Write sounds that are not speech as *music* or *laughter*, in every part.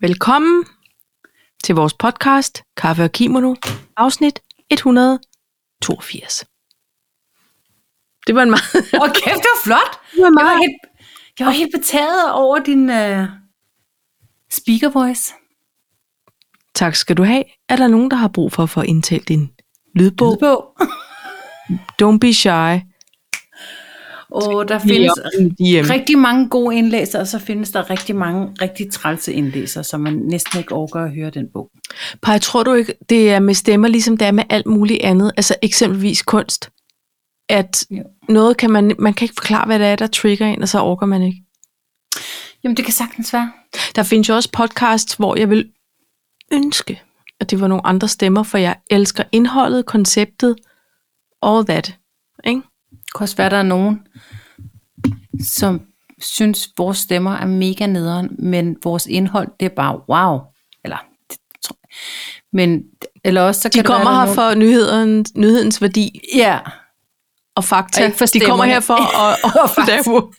Velkommen til vores podcast Kaffe og Kimono, afsnit 182. Det var en meget... *laughs* Åh, kæft, det var flot. Det var Jeg var helt, jeg var helt betaget over din uh, speaker voice. Tak skal du have. Er der nogen, der har brug for at få indtalt din lydbog? Lydbog. Don't be shy. Og der findes Hjem. rigtig mange gode indlæser, og så findes der rigtig mange rigtig trælse indlæser, som man næsten ikke overgår at høre den bog. Paj, tror du ikke, det er med stemmer, ligesom det er med alt muligt andet? Altså eksempelvis kunst. At Jo. noget kan man, man kan ikke forklare, hvad det er, der trigger en, og så orker man ikke. Jamen, det kan sagtens være. Der findes jo også podcasts, hvor jeg vil ønske, at det var nogle andre stemmer, for jeg elsker indholdet, konceptet, all that. Ikke? Det kan også være, der er nogen, som synes, vores stemmer er mega nederen, men vores indhold, det er bare wow. Eller, det tror jeg. Men, eller også, så De kan kommer det være, her der er for nyhedens, nyhedens værdi nogen- Ja, og Og fakta. ikke for de kommer stemmerne. her for at, *laughs* og, og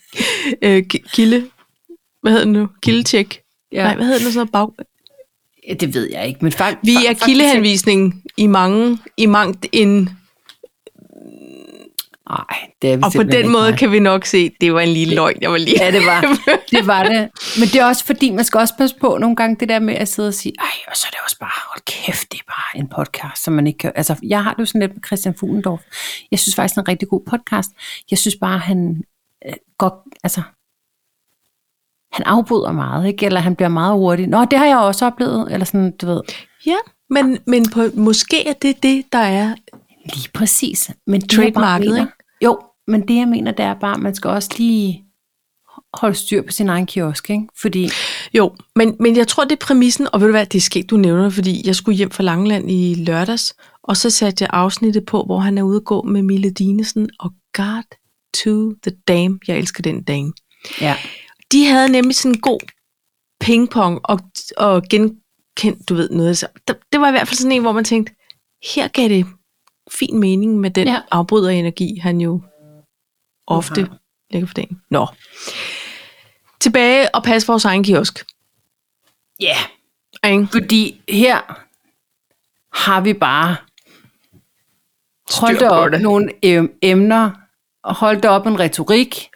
lave øh, ki- kilde. Hvad hedder det nu? Kildetjek. Ja. Ja. Nej, hvad hedder det så? Bag... Ja, det ved jeg ikke, men fakt, Vi fakt- er faktisk- kildehenvisning i mange, i mangt en. Nej, det er Og vi på simpelthen den ikke, måde nej. kan vi nok se, at det var en lille løgn, jeg var lige. Ja, det var, *laughs* det var det. Men det er også fordi, man skal også passe på nogle gange det der med at sidde og sige, ej, og så er det også bare, hold kæft, det er bare en podcast, som man ikke kan... Altså, jeg har det jo sådan lidt med Christian Fuglendorf. Jeg synes faktisk, han er en rigtig god podcast. Jeg synes bare, han øh, godt... Altså, han afbryder meget, ikke? Eller han bliver meget hurtig. Nå, det har jeg også oplevet. Eller sådan, du ved. Ja, men, men på, måske er det det, der er Lige præcis. Men det, Trademarket, jeg bare mener, ikke? Jo, men det jeg mener, det er bare, at man skal også lige holde styr på sin egen kiosk, ikke? Fordi, Jo, men, men jeg tror, det er præmissen, og ved du hvad, det er sket, du nævner, det, fordi jeg skulle hjem fra Langeland i lørdags, og så satte jeg afsnittet på, hvor han er ude at gå med Mille Dinesen, og God to the damn, jeg elsker den dame. ja, De havde nemlig sådan en god pingpong og, og genkendt, du ved noget. Så det, det var i hvert fald sådan en, hvor man tænkte, her gav det fin mening med den ja. Ja. afbryderenergi, han jo ofte har. lægger for dagen. Nå. Tilbage og passe vores egen kiosk. ja, Ikke? fordi her har vi bare holdt Styr på op det. nogle øh, emner, og holdt op en retorik,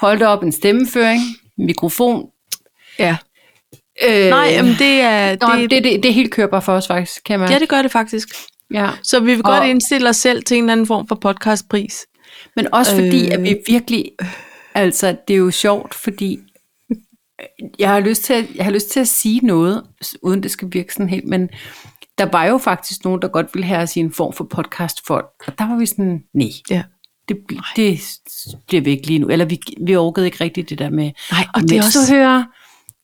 holdt op en stemmeføring, mikrofon. Ja. Øh, Nej, øh, men det er... Det, det, det, det, det helt kører bare for os faktisk, kan man. ja, det gør det faktisk. ja. Så vi vil godt Og- indstille os selv til en eller anden form for podcastpris. Men også fordi, Øh. øh... at vi virkelig, altså det er jo sjovt, fordi øh, jeg har lyst til at, jeg har lyst til at sige noget, s- uden det skal virke sådan helt, men der var jo faktisk nogen, der godt ville have os i en form for podcast for, og der var vi sådan, nej, Ja. det, bl- det s- bliver vi ikke lige nu, eller vi, vi orkede ikke rigtigt det der med, Nej, og og det er også... du hører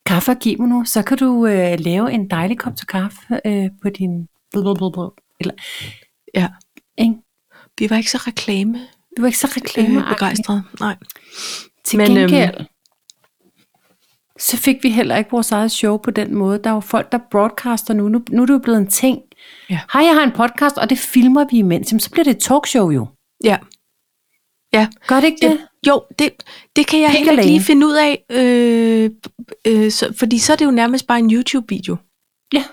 kaffe og kimono, så kan du øh, lave en dejlig kop til kaffe øh, på din, blablabla, eller, Ja. ikke? Vi var ikke så reklame Du var ikke så øh, reklameagtig. begejstrede. Nej. Til Men, Men, øhm, gengæld, øhm, så fik vi heller ikke vores eget show på den måde. Der er jo folk, der broadcaster nu. Nu, nu er det jo blevet en ting. Ja. Hej, jeg har en podcast, og det filmer vi imens. Jamen, så bliver det et talkshow jo. Ja. Ja. Gør det ikke ja. det? Jo, det, det kan jeg Pink heller ikke alene. lige finde ud af. Øh, øh, så, fordi så er det jo nærmest bare en YouTube-video. Ja.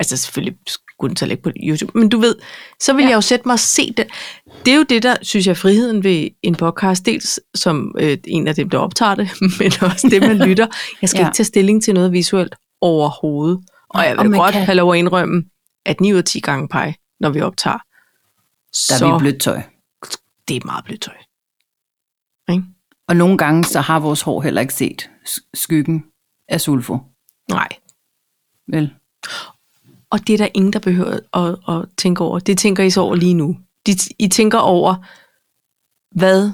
Altså selvfølgelig skulle den så ligge på YouTube, men du ved, så vil ja. Ja. jeg jo sætte mig og se det. Det er jo det, der synes jeg er friheden ved en podcast, dels som øh, en af dem, der optager det, *laughs* men også det, *laughs* man lytter. Jeg skal ja. Ja. ikke tage stilling til noget visuelt overhovedet. Og jeg Og vil man godt kan- have lov at indrømme, at 9 ud af 10 gange pege, når vi optager, så blødt tøj. det er meget blødt tøj. Og nogle gange, så har vores hår heller ikke set s- skyggen af sulfo. Nej, Vel? Og det er der ingen, der behøver at, at tænke over. Det tænker I så over lige nu. De, I tænker over, hvad,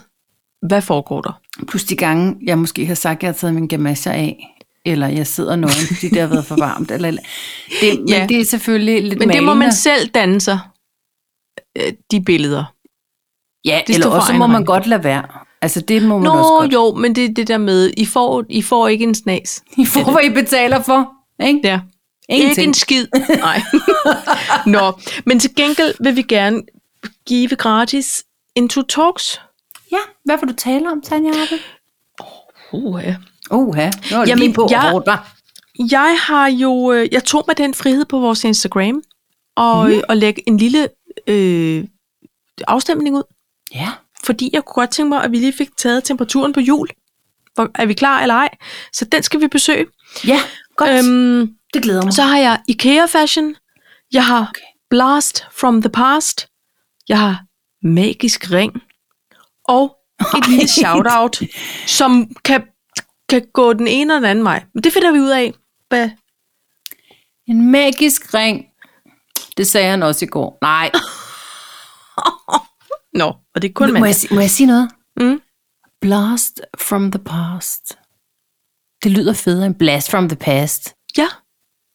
hvad foregår der? Plus de gange, jeg måske har sagt, at jeg har taget min gamasjer af, eller jeg sidder nøgen, fordi det har været for varmt. Eller, eller. Det, men Ja. det er selvfølgelig lidt Men det må malende. man selv danne sig, øh, de billeder. Ja, Det det eller står for også egen må man regning. godt lade være. Altså det må man også Nå godt. jo, men det er det der med, I får, I får ikke en snas. I får, hvad I betaler for. Ikke? Ja. Ikke Ingenting. en skid. *laughs* Nej. Nå, men til gengæld vil vi gerne give gratis en to talks. Ja, hvad vil du tale om, Tanja Arbe? Uh, ja. Uha, nu er det Jamen, lige på jeg- jeg... hårdt, hva'? Jeg har jo, øh, jeg tog mig den frihed på vores Instagram, og, Mhm. mm. og lægge en lille øh, afstemning ud, Ja. fordi jeg kunne godt tænke mig, at vi lige fik taget temperaturen på jul. Hvor, er vi klar eller ej? Så den skal vi besøge. Ja, godt. Øhm, Øhm, det glæder mig. Så har jeg IKEA Fashion. Jeg har okay. Okay. Blast from the Past. Jeg har Magisk Ring. Og et lille shout-out, som kan, kan gå den ene eller den anden vej. Men det finder vi ud af. Hvad? En magisk ring. Det sagde han også i går. Nej, Nå, og det er kun Ah, må jeg, mandag. si- må jeg sige noget? Mm. Blast from the past. Det lyder federe end blast from the past. Ja,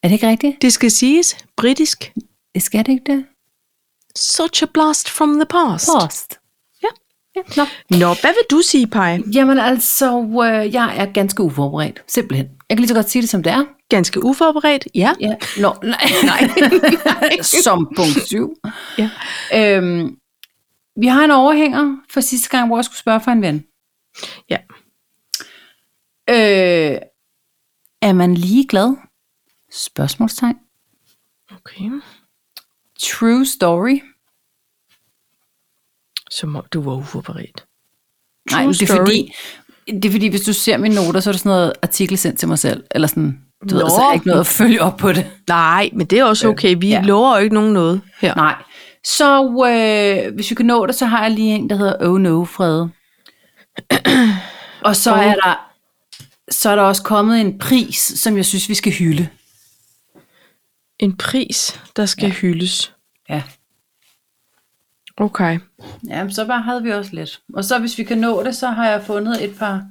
Er det ikke rigtigt? det skal siges britisk. Det skal det ikke det? Such a blast from the past. Past. Ja. ja. Nå. Nå, hvad vil du sige, Paj? Jamen altså, øh, jeg er ganske uforberedt. Simpelthen. Jeg kan lige så godt sige det, som det er. Ganske uforberedt, ja. Ja. Nå, nej. *laughs* nej. *laughs* som punkt syv. Ja. Øhm, vi har en overhænger fra sidste gang, hvor jeg skulle spørge for en ven. Ja. Øh, er man lige glad? Spørgsmålstegn. Okay. True story. Som om du var uforberedt. Nej, True men det er story. fordi, det er fordi, hvis du ser mine noter, så er der sådan noget artikel sendt til mig selv. Eller sådan, du ved, Nå. så er der ikke noget at følge op på det. Nej, men det er også okay. Vi ja. ja. lover jo ikke nogen noget her. Nej. Så øh, hvis vi kan nå det, så har jeg lige en, der hedder Oh No *clears throat* Frede. Og så er der så er der også kommet en pris, som jeg synes, vi skal hylde. En pris, der skal ja. hyldes. Ja. Okay. Ja, men så bare havde vi også lidt. Og så hvis vi kan nå det, så har jeg fundet et par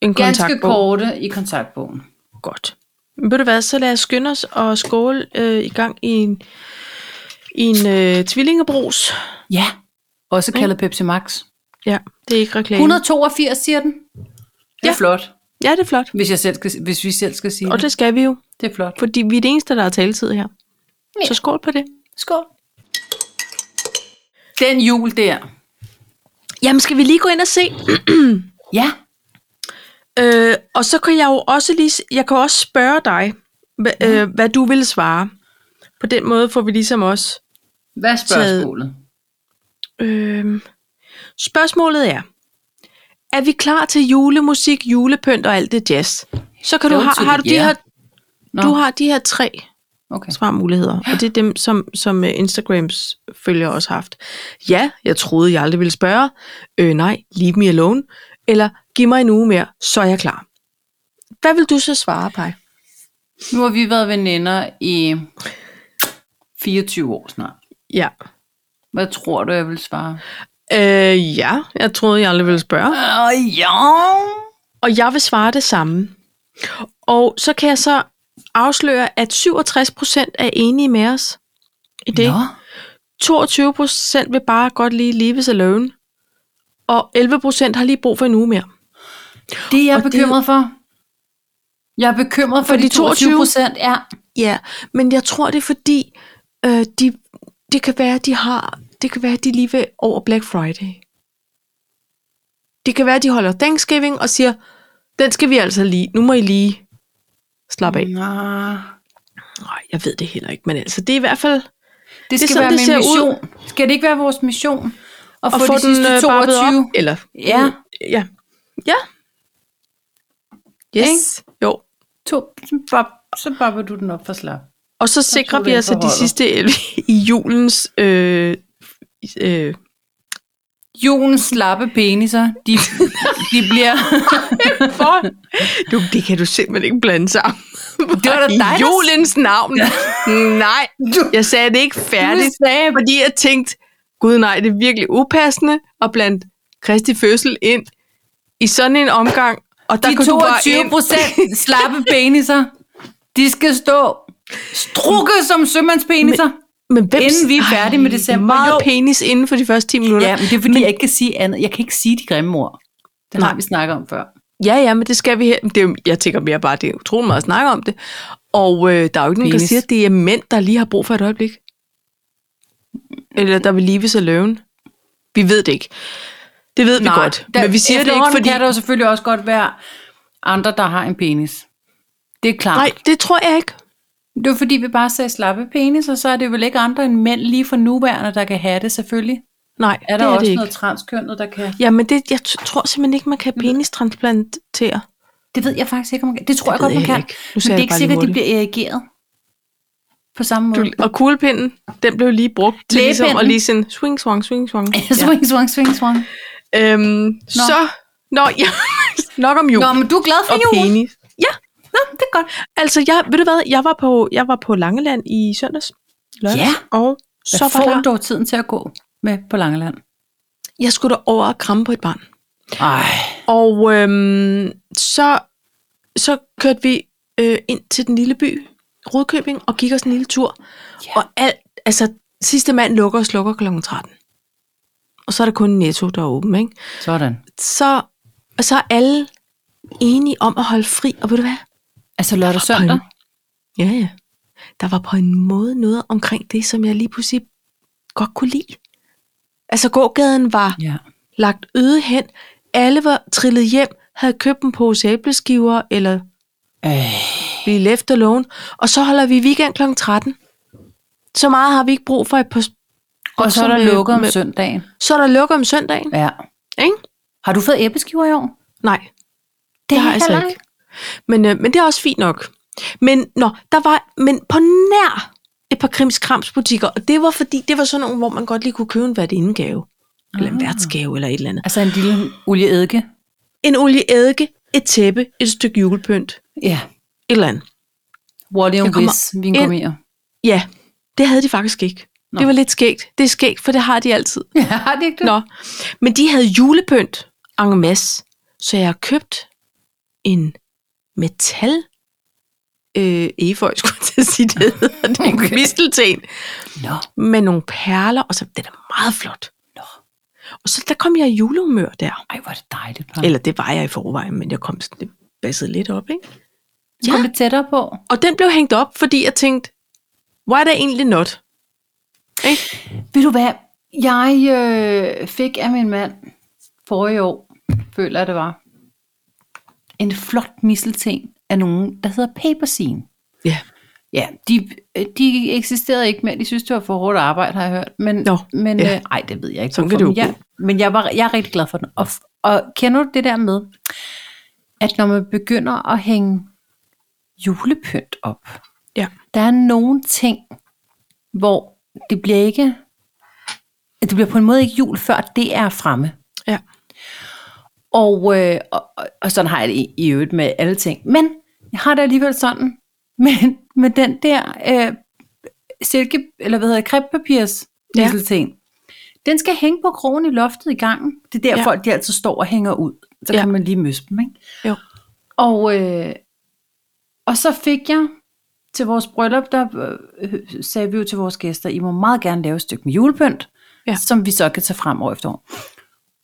En ganske kontaktbog. korte i kontaktbogen. Godt. Men ved du hvad, så lad os skynde os og skåle øh, i gang i en, i en øh, tvillingebrus. Ja. Også kaldet Pepsi Max. Ja, det er ikke reklame. 182 siger den. Det er Ja. flot, Ja, det er flot. hvis, jeg selv skal, hvis vi selv skal sige Og det. det skal vi jo, Det er flot. fordi vi er det eneste, der har taletid her. Så skål på det. Skål. Den jul der. Jamen, skal vi lige gå ind og se? Ja. Øh, og så kan jeg jo også lige, s- jeg kan også spørge dig, hva, øh, hvad du ville svare. På den måde får vi ligesom også Hvad er spørgsmålet? Øhm, spørgsmålet er, er vi klar til julemusik, julepynt og alt det jazz? Så kan du, Jo, har, til har du, det, de ja. her, Nå. du har de her tre Okay. svarmuligheder, og det er dem, som, som øh, Instagrams følger også har haft. Ja, jeg troede, jeg aldrig ville spørge. Øh, nej, leave me alone. Eller giv mig en uge mere, så er jeg klar. Hvad vil du så svare, Paj? Nu har vi været veninder i 24 år snart. Ja. Hvad tror du, jeg vil svare? Øh, ja, jeg troede, jeg aldrig ville spørge. Øh, ja. Og jeg vil svare det samme. Og så kan jeg så afsløre, at 67 procent er enige med os i det. Nå. 22 procent vil bare godt lige leaves alone. Og 11 procent har lige brug for en uge mere. Det er jeg Og det- bekymret for. Jeg er bekymret for, For de de 22 procent. Ja. Ja, men jeg tror, det er fordi, øh, de, det kan være, de har, det kan være, de lige ved over Black Friday. Det kan være, de holder Thanksgiving og siger, den skal vi altså lige, nu må I lige slappe af. Nå. Mm. Nej, jeg ved det heller ikke, men altså, det er i hvert fald, Det skal sådan, være det min ser ud. mission. Skal det ikke være vores mission? At og få få, de den sidste øh, barbet 22? op. Eller, øh, Ja. ja. Ja. Yes. Ikke? Jo. To, så, bab, så babber du den op for slap. Og så sikrer tog vi den altså de forholdet. sidste 11 i julens... Øh, øh, Julens slappe peniser, de, de bliver... for. Du, det kan du simpelthen ikke blande sammen. Det var da *laughs* I dig, der- julens navn. Nej, jeg sagde det ikke færdigt, sagde- fordi jeg tænkte, gud nej, det er virkelig upassende at blande Kristi fødsel ind i sådan en omgang. Og der de kom du bare 22 ind. procent slappe peniser, de skal stå strukket som sømandspeniser. Men hvem, Inden vi er færdige med december. Meget Jo. penis inden for de første 10 minutter. Ja, men det er fordi, men, jeg ikke kan sige andet. Jeg kan ikke sige de grimme ord. Det har Nej. vi snakket om før. ja, ja, men det skal vi her. Det er, jo- jeg tænker mere bare, det er utrolig meget at snakke om det. Og øh, der er jo ikke nogen, der Penis. siger, at det er mænd, der lige har brug for et øjeblik. Eller der vil leaves alone. Vi ved det ikke. Det ved vi godt. men vi siger det ikke, fordi... kan der jo selvfølgelig også godt være andre, der har en penis. Det er klart. Nej, det tror jeg ikke. Det var fordi, vi bare sagde slappe penis, og så er det vel ikke andre end mænd lige for nuværende, der kan have det selvfølgelig. Nej, Er der det er også det ikke. noget transkønnet, der kan... Jamen, det, jeg t- tror simpelthen ikke, man kan penistransplantere. Det ved jeg faktisk ikke, om man kan. Det tror Det jeg godt, ved man jeg kan. ikke. Nu Men sagde det er jeg ikke bare lige sikkert, at de hurtigt. bliver erigeret på samme måde. Du, og kuglepinden, den blev lige brugt til ligesom at Lægepinden. lige sådan swing, swang, swing, *laughs* swang. swing, swang, swing, swang. Øhm, Så, nå, ja, *laughs* nok om jul Nå, men du er glad for og jul. penis. Ja, Nå, det er godt. altså, jeg, ved du hvad, jeg var på, jeg var på Langeland i søndags. Lørdags, Ja. Og så Så var får der, du dog tiden til at gå med på Langeland. jeg skulle da over og kramme på et barn. Ej. Og øhm, så, så kørte vi øh, ind til den lille by, Rudkøbing, og gik os en lille tur. Ja. Og alt, altså, sidste mand lukker og slukker kl. 13. Og så er der kun Netto, der er åben, ikke? Sådan. Så, og så er alle enige om at holde fri, og ved du hvad? Altså på lørdag søndag? Ja, ja. Der var på en måde noget omkring det, som jeg lige pludselig godt kunne lide. Altså, gågaden var Ja. lagt øde hen. Alle var trillet hjem, havde købt en pose æbleskiver, eller Øh. blive left alone. Og så holder vi weekend kl. 13. Så meget har vi ikke brug for. Et par, Og så er der med- lukket om med- søndagen. så er der lukker om søndagen, Ja. ikke? Har du fået æbleskiver i år? Nej, det har jeg altså ikke. Men, øh, men det er også fint nok. Men, nå, der var, men på nær et par krimskramsbutikker, og det var fordi, det var sådan nogle, hvor man godt lige kunne købe en værtindegave, eller en Ah. værtsgave, eller et eller andet. Altså en lille olieeddike? En olieeddike, et tæppe, et stykke julepynt, et Ja. eller andet. Wallium kommer Whiz vingummier. Ja, det havde de faktisk ikke. Nå. Nå. Det var lidt skægt. Det er skægt, for det har de altid. *laughs* Ja, har det ikke det? Nå, men de havde julepynt en masse, så jeg har købt en metal øh, efeu, skulle jeg til at sige det *laughs* hedder. Det er en Okay. mistelten Nå. med nogle perler, og så den er meget flot. Nå. Og så der kom jeg i julehumør der. Ej, hvor er det dejligt. Bare. Eller det var jeg i forvejen, men jeg kom sådan det bassede lidt op, ikke? ja. Kom lidt tættere på. Og den blev hængt op, fordi jeg tænkte, why da egentlig not? Ikke? Ved du hvad? Jeg øh, fik af min mand forrige år, føler jeg det var, en flot misselting af nogen, der hedder Paper Scene. Ja. Ja, de, øh, de eksisterede ikke mere. De synes, det var for hårdt arbejde, har jeg hørt. Men, Nå, men ja. øh, ej, det ved jeg ikke. Sådan kan hvorfor, det men jo jeg, Men jeg, var, jeg er rigtig glad for den. Og, f- og kender du det der med, at når man begynder at hænge julepynt op, Ja. der er nogle ting, hvor det bliver ikke, det bliver på en måde ikke jul, før det er fremme. Ja. Og, øh, og, og- og sådan har jeg det i, i øvrigt med alle ting. Men jeg har det alligevel sådan, men med den der øh, silke, eller hvad hedder det, krepppapirs Ja. ja. ting. Den skal hænge på krogen i loftet i gangen. Det er der, Ja. ja. folk de altid står og hænger ud. Så Ja. ja. kan man lige møsse dem, ikke? Jo. Og, øh, og så fik jeg til vores bryllup, der øh, sagde vi jo til vores gæster, I må meget gerne lave et stykke med julepynt, Ja. ja. som vi så kan tage frem år efter år.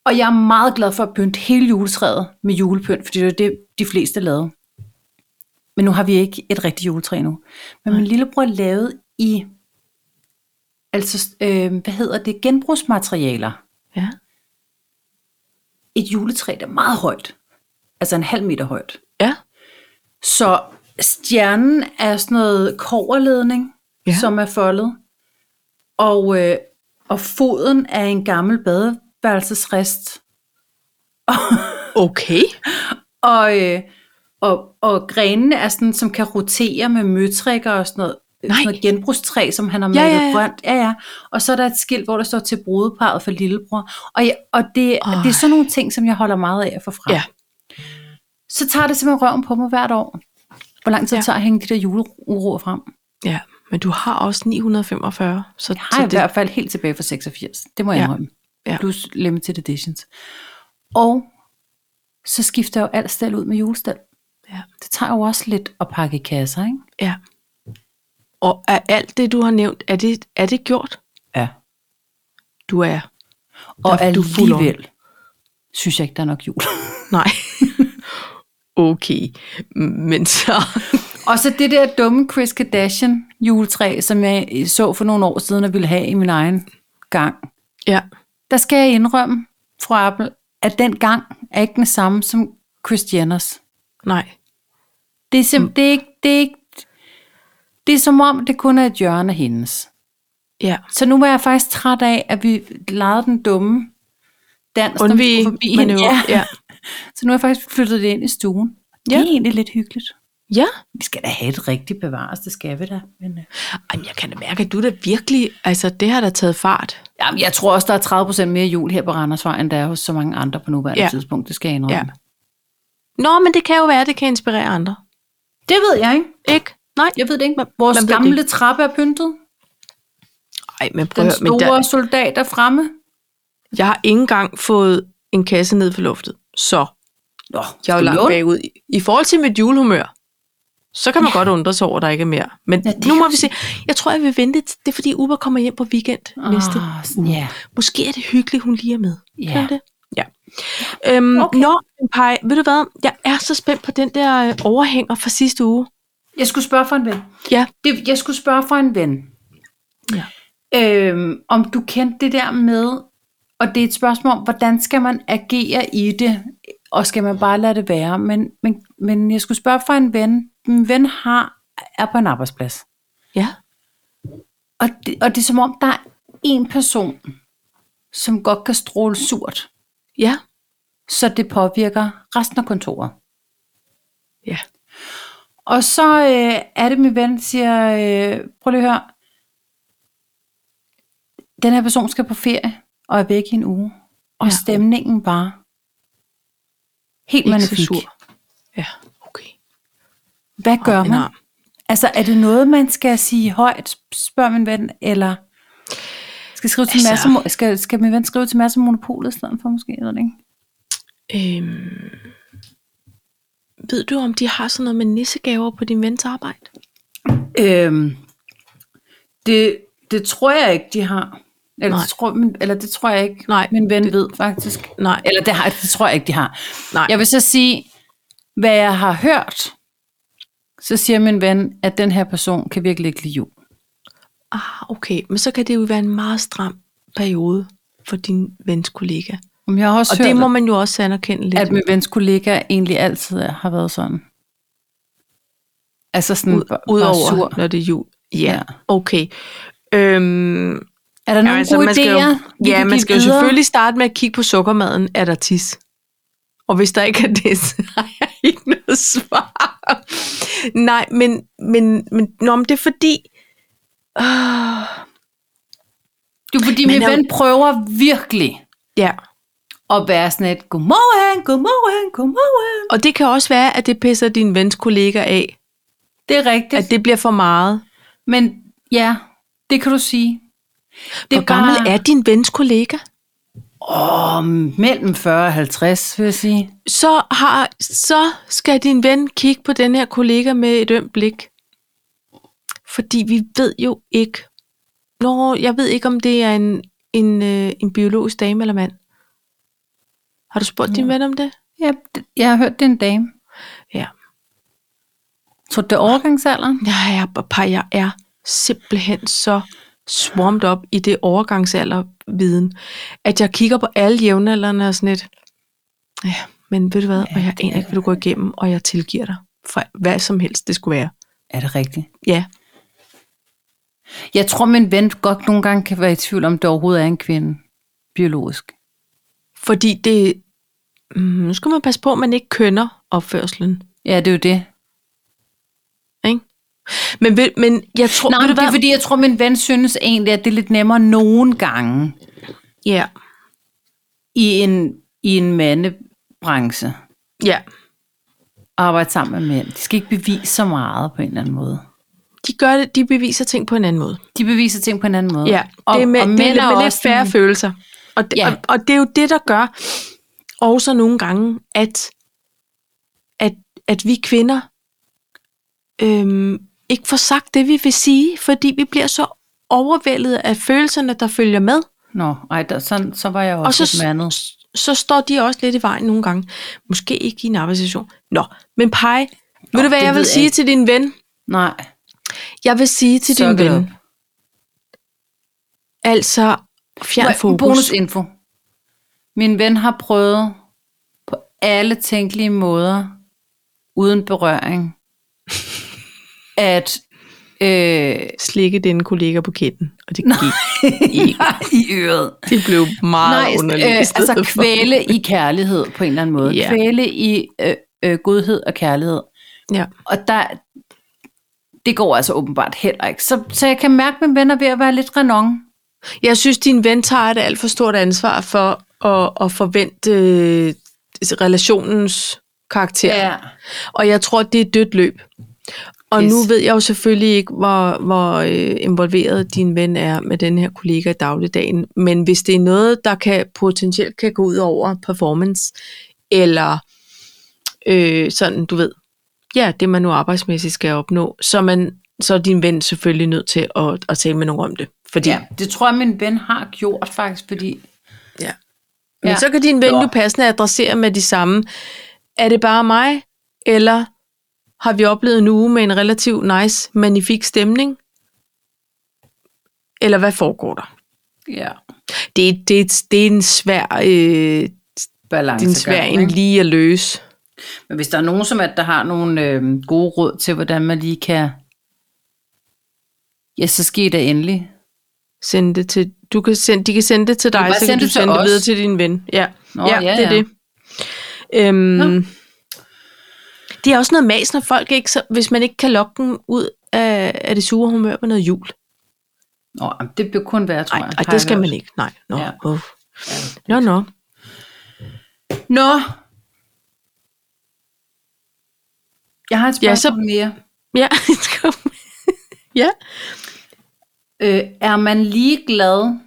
Og jeg er meget glad for at pynte hele juletræet med julepynt, fordi det er det, de fleste lavede. Men nu har vi ikke et rigtigt juletræ endnu. Men min lillebror lavede i, altså, øh, hvad hedder det, genbrugsmaterialer Ja. et juletræ, der er meget højt. Altså en halv meter højt. Ja. Så stjernen er sådan noget koverledning, Ja. ja. som er foldet. Og, øh, og foden er en gammel badeværelsesrest. Okay. Og, øh, og, og grenene er sådan, som kan rotere med møtrikker og sådan noget. øh, Nej. Sådan noget genbrugstræ, som han har Ja, malet ja, ja. grønt. Ja, ja. Og så er der et skilt, hvor der står til brudeparret for lillebror. Og, jeg, og det, Ej. det er sådan nogle ting, som jeg holder meget af at få frem. Ja. Så tager det simpelthen røven på mig hvert år. Hvor lang tid Ja. ja. tager at hænge de der juleuroer frem? Ja, men du har også 945, så, Jeg så har i hvert fald helt tilbage fra 86. Det må jeg Ja. ja. indrømme. Ja. Ja. Plus limited editions. Og så skifter jeg jo alt stel ud med julestel. Ja. Det tager jo også lidt at pakke i kasser, ikke? Ja. Og er alt det, du har nævnt, er det, er det gjort? Ja. Du er. Og Der- du er fuld on. alligevel synes jeg ikke, der er nok jul. *laughs* Nej. *laughs* okay. Men så... Og så det der dumme Chris Kardashian juletræ, som jeg så for nogle år siden og ville have i min egen gang. Ja. Der skal jeg indrømme, fru Appel, at den gang er ikke den samme som Chris Jenners. Nej. Mm. Det er simpelthen det er ikke det er ikke, det er som om, det kun er et hjørne af hendes. Ja. Så nu var jeg faktisk træt af, at vi legede den dumme dans, når vi Undvige skulle forbi hende. manøvre. Ja. Ja. Så nu har jeg faktisk flyttet det ind i stuen. Ja. Ja. Det er egentlig lidt hyggeligt. ja. Vi skal da have et rigtigt bevares, det skal vi da. Men, øh. Jamen, jeg kan da mærke, at du da virkelig, altså det har da taget fart. Jamen, jeg tror også, der er 30 mere jul her på Randersvej, end der er hos så mange andre på nuværende Ja. ja. tidspunkt. Det skal jeg indrømme. Ja. Nå, men det kan jo være, at det kan inspirere andre. Det ved jeg ikke. Ikke? Nej. Jeg ved det ikke. Man- Vores man ved det gamle trappe er pyntet. Nej, men prøv Den at høre, men store der, soldat er fremme. jeg har ikke engang fået en kasse ned for luftet. Så Nå, jeg er jo skal vi langt låne? bagud. I- I forhold til mit julehumør, så kan man ja. godt undre sig over, at der ikke er mere. Men Ja, ja, det nu er må vi se. Jeg tror, jeg vil vente. Det er fordi Uber kommer hjem på weekend Ah, oh. næste. sådan, Ja. Måske er det hyggeligt, hun lige er med. Ja. Kan det? Ja. Øhm, Okay. okay. Nå, Paj, ved du hvad? Jeg er så spændt på den der øh, overhænger fra sidste uge. Jeg skulle spørge for en ven. Ja. Det, jeg skulle spørge for en ven. Ja. Øhm, om du kendte det der med, og det er et spørgsmål om, hvordan skal man agere i det, og skal man bare lade det være? Men, men, men jeg skulle spørge for en ven. Min ven har, er på en arbejdsplads. Ja. Og det, og det er som om, der er en person, som godt kan stråle surt, Ja. så det påvirker resten af kontoret. Ja. Og så øh, er det, min ven siger, øh, prøv lige at høre, den her person skal på ferie og er væk i en uge. Og ja. Ja. stemningen var helt Ikke så magnifik. sur. Ja, okay. Hvad gør En man? arm. Altså, er det noget, man skal sige højt, spørger min ven, eller skal, skrive til Altså- altså, masse, skal, skal min ven skrive til masse monopolet i stedet for måske? Eller ikke? Øhm, ved du, om de har sådan noget med nissegaver på din vens arbejde? Øhm, det, det tror jeg ikke, de har. Eller, Nej. det tror, min, eller det tror jeg ikke, Nej, min ven det, ved faktisk. Nej. Eller det, har, det tror jeg ikke, de har. Nej. Jeg vil så sige, hvad jeg har hørt, så siger min ven, at den her person kan virkelig ikke lide jul. Ah, okay. Men så kan det jo være en meget stram periode for din vens kollega. Men Jeg har også Og hørt, det må man jo også anerkende lidt. at min vens kollega egentlig altid har været sådan. Altså sådan, ud, bare- udover, bare sur. når det er jul. Ja, Ja. ja. okay. Øhm, Er der nogle altså, gode man skal idéer? jo, vi ja, kan man give skal jo videre? selvfølgelig starte med at kigge på sukkermaden. Er der tis? Og hvis der ikke er det, *laughs* så har jeg ikke noget svar. Nej, men, men, men, nå, men det er fordi... Uh, Det er fordi, Man min er jo- ven prøver virkelig ja, at være sådan et, godmorgen, godmorgen, godmorgen. og det kan også være, at det pisser din vens kollega af. Det er rigtigt. At det bliver for meget. Men ja, det kan du sige. Det Hvor gammel er din vens kollega? Åh, mellem 40 og 50, vil jeg sige. Så, har, så skal din ven kigge på den her kollega med et ømt blik. Fordi vi ved jo ikke. Nå, jeg ved ikke, om det er en, en, øh, en biologisk dame eller mand. Har du spurgt din ven om det? Ja, det- jeg har hørt, det er en dame. Ja. Tror du, det er overgangsalderen? Nej, jeg, er- par, jeg er simpelthen så swamped op i det overgangsalderviden, at jeg kigger på alle jævnaldrende og sådan lidt, ja, men ved du hvad, Ja, og jeg det er aner ikke, hvad du går igennem, og jeg tilgiver dig for hvad som helst det skulle være. Er det rigtigt? Ja, Jeg tror, min ven godt nogle gange kan være i tvivl om, det overhovedet er en kvinde. Biologisk. fordi det, mm, nu skal man passe på, at man ikke kønner opførselen, Ja, det er jo det. ikke? Men, ved, men jeg tror, Nej, ved men du det er hvad? fordi, jeg tror, min ven synes egentlig, at det er lidt nemmere nogen gange Ja, i en, i en mandebranche ja. at arbejde sammen med mænd. De skal ikke bevise så meget på en eller anden måde. De, gør det, de beviser ting på en anden måde. De beviser ting på en anden måde. Ja, det er med, det er med lidt færre sådan- følelser. Og det, Ja. ja. og, og det er jo det, der gør også nogle gange, at, at, at vi kvinder øhm, ikke får sagt det, vi vil sige, fordi vi bliver så overvældet af følelserne, der følger med. Nå, ej, der, sådan, så var jeg Og også så, og så, mandet. s- så står de også lidt i vejen nogle gange. Måske ikke i en arbejdssituation. Nå, men pej, ved du hvad det jeg ved vil jeg sige ikke. til din ven? Nej, Jeg vil sige til Suck din it up. ven, altså Må fjern jeg- fokus. Bonusinfo. Min ven har prøvet *laughs* på alle tænkelige måder, uden berøring, at... Øh, Slikke denne kollega på kinden, og det gik ikke. i øret. Det *laughs* blev meget Nej, underligt. øh, i stedet altså for. kvæle i kærlighed på en eller anden måde. Ja. Yeah. Kvæle i øh, øh, godhed og kærlighed. Ja. Og der, det går altså åbenbart heller ikke. Så, så jeg kan mærke, at mine venner er ved at være lidt renon. Jeg synes, din ven tager et alt for stort ansvar for at, at forvente øh, relationens karakter. Og jeg tror, det er et dødt løb. Og Yes. yes. nu ved jeg jo selvfølgelig ikke, hvor, hvor øh, involveret din ven er med den her kollega i dagligdagen. Men hvis det er noget, der kan potentielt kan gå ud over performance, eller øh, sådan, du ved, ja, det man nu arbejdsmæssigt skal opnå, så, er man, så er din ven selvfølgelig nødt til at, at tale med nogen om det. Fordi, ja, det tror jeg, min ven har gjort faktisk, fordi... Ja. Men Ja. ja. så kan din ven Nå. jo passende adressere med de samme. Er det bare mig, eller har vi oplevet en uge med en relativ nice, magnifik stemning? Eller hvad foregår der? Ja. Det, er- det, er- det er en svær, øh, det er en svær Balancegang, en ikke? lige at løse. Men hvis der er nogen, som at der har nogle øh, gode råd til, hvordan man lige kan... Ja, så sker det endelig. Sende det til, du kan sende, de kan sende det til kan dig, bare så kan sende du det til sende det os. videre til din ven. Ja, Nå, ja, ja, det er ja. det. Øhm, Nå. det er også noget mas, når folk ikke, så, hvis man ikke kan lokke dem ud af, af det sure humør med noget jul. Nå, jamen, det bliver kun være, tror Nej, jeg. ej, Har det jeg skal hørt. man ikke. Nej, nå. Ja. Ja. Uh. Nå, nå. Nå! Jeg har et spørgsmål Ja, ja, så- så... mere. *laughs* Ja, kom. ja. Øh, er man ligeglad,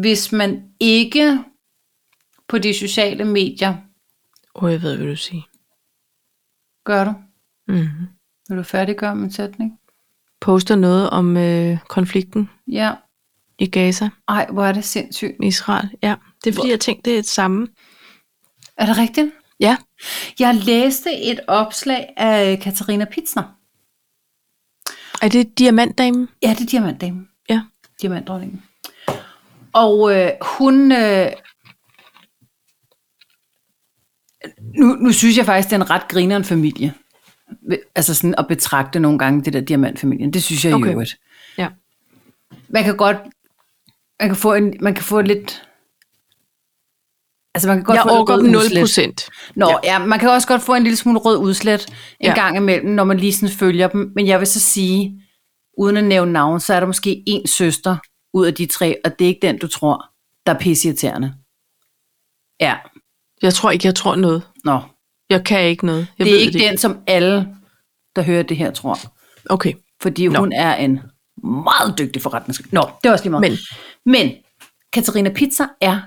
hvis man ikke på de sociale medier Åh, oh, jeg ved, hvad du siger. gør du? Mm. Vil du færdiggøre min sætning? Poster noget om øh, konflikten Ja. i Gaza, Ej, hvor er det sindssygt. Israel. Ja, det er fordi, jeg tænkte, det er det samme. Er det rigtigt? Ja. Jeg læste et opslag af Katarina Pitzner. Er det diamantdamen? Ja, det er diamantdamen. Ja. Diamantdronningen. Og øh, hun... Øh, nu, nu synes jeg faktisk, det er en ret grineren familie. Altså sådan at betragte nogle gange det der diamantfamilien. Det synes jeg okay. Okay. i øvrigt. Ja. Man kan godt... Man kan få, en, man kan få lidt... Altså man kan godt Jeg få lidt overgår rød dem 0 udslæt. procent. Nå, ja. ja, man kan også godt få en lille smule rød udslet en Ja. gang imellem, når man lige sådan følger dem. Men jeg vil så sige, uden at nævne navn, så er der måske en søster ud af de tre, og det er ikke den, du tror, der er pisseirriterende. Ja, Jeg tror ikke, jeg tror noget. nå. Jeg kan ikke noget. Jeg Jeg det ved er ikke det det. den, som alle, der hører det her, tror. Okay. Fordi nå. Nå. hun er en meget dygtig forretningskvinde. Nå, det er også lige meget. Men. Men Katarina Pizza er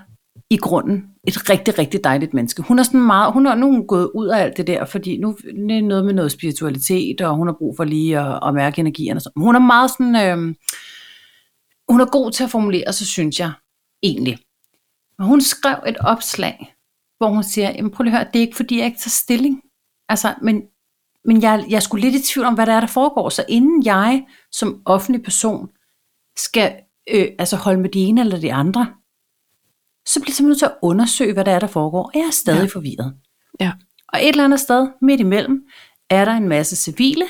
i grunden et rigtig, rigtig dejligt menneske. Hun er sådan meget, hun er nu er hun gået ud af alt det der, fordi nu er det noget med noget spiritualitet, og hun har brug for lige at, at mærke energien og sådan. Men Hun er meget sådan, øh, hun er god til at formulere, så synes jeg egentlig. Men hun skrev et opslag, hvor hun siger, jamen prøv lige at høre, det er ikke fordi, jeg ikke tager stilling. Altså, men, men jeg, jeg er sgu lidt i tvivl om, hvad der er, der foregår. Så inden jeg som offentlig person skal øh, altså holde med de ene eller de andre, så bliver jeg simpelthen nødt til at undersøge, hvad der er, der foregår. Og jeg er stadig ja. Ja. forvirret. Ja. Og et eller andet sted midt imellem er der en masse civile,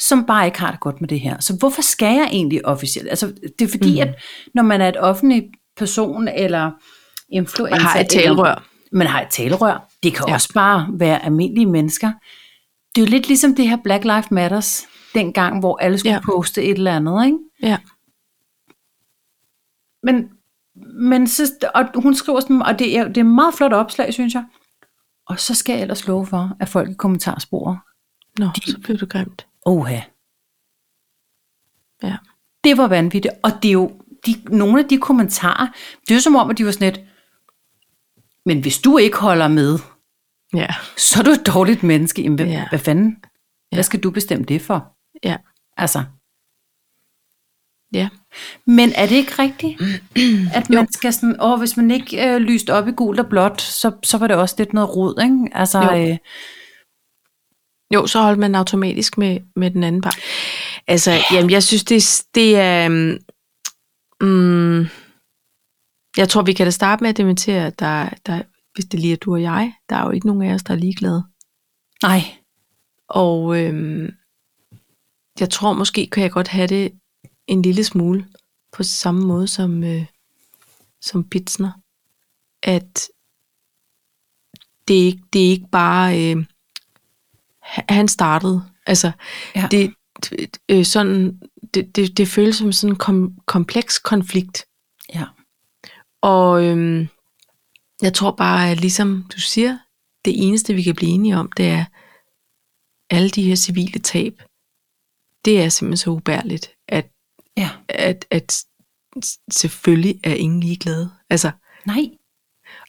som bare ikke har det godt med det her. Så hvorfor skal jeg egentlig officielt? Altså, det er fordi, mm. at når man er et offentlig person eller influencer... Man har et eller- talerør. Man har et talerør. Det kan ja. Ja. også bare være almindelige mennesker. Det er jo lidt ligesom det her Black Lives Matters, dengang, hvor alle skulle ja. Ja. poste et eller andet, ikke? Ja. Men, men så, og hun skriver sådan, og det er, det er et meget flot opslag, synes jeg. Og så skal jeg ellers love for, at folk i kommentarsporet, Nå, så blev det grimt. oha, Ja. det var vanvittigt. Og det er jo, de, nogle af de kommentarer, det er jo som om, at de var sådan lidt, men hvis du ikke holder med, Ja. så er du et dårligt menneske. Jamen, hvad, ja. Ja. hvad fanden? Ja. Ja. Hvad skal du bestemme det for? Ja. Altså, Ja. men er det ikke *clears throat* rigtigt, at man skal sådan, åh, hvis man ikke øh, lyste op i gult og blåt, så, så var det også lidt noget rod, ikke? Altså, Jo. øh, Jo, så holdt man automatisk med, med den anden part. Altså, jamen, jeg synes, det, er- det er... øhm, Mm, jeg tror, vi kan da starte med at dementere, at der, der, hvis det lige er du og jeg, der er jo ikke nogen af os, der er ligeglade. nej, Og øhm, jeg tror måske, kan jeg godt have det en lille smule på samme måde som, øh, som Pitsner. At det er ikke, det er ikke bare... Øh, han- han startede. Altså, Ja. ja. det, øh, sådan, det, det, det føles som sådan en kom, kompleks konflikt. Ja. Og øhm, jeg tror bare, at ligesom du siger, det eneste vi kan blive enige om, det er alle de her civile tab. Det er simpelthen så ubærligt, at, Ja. at, at s- selvfølgelig er ingen ligeglade. Altså, Nej.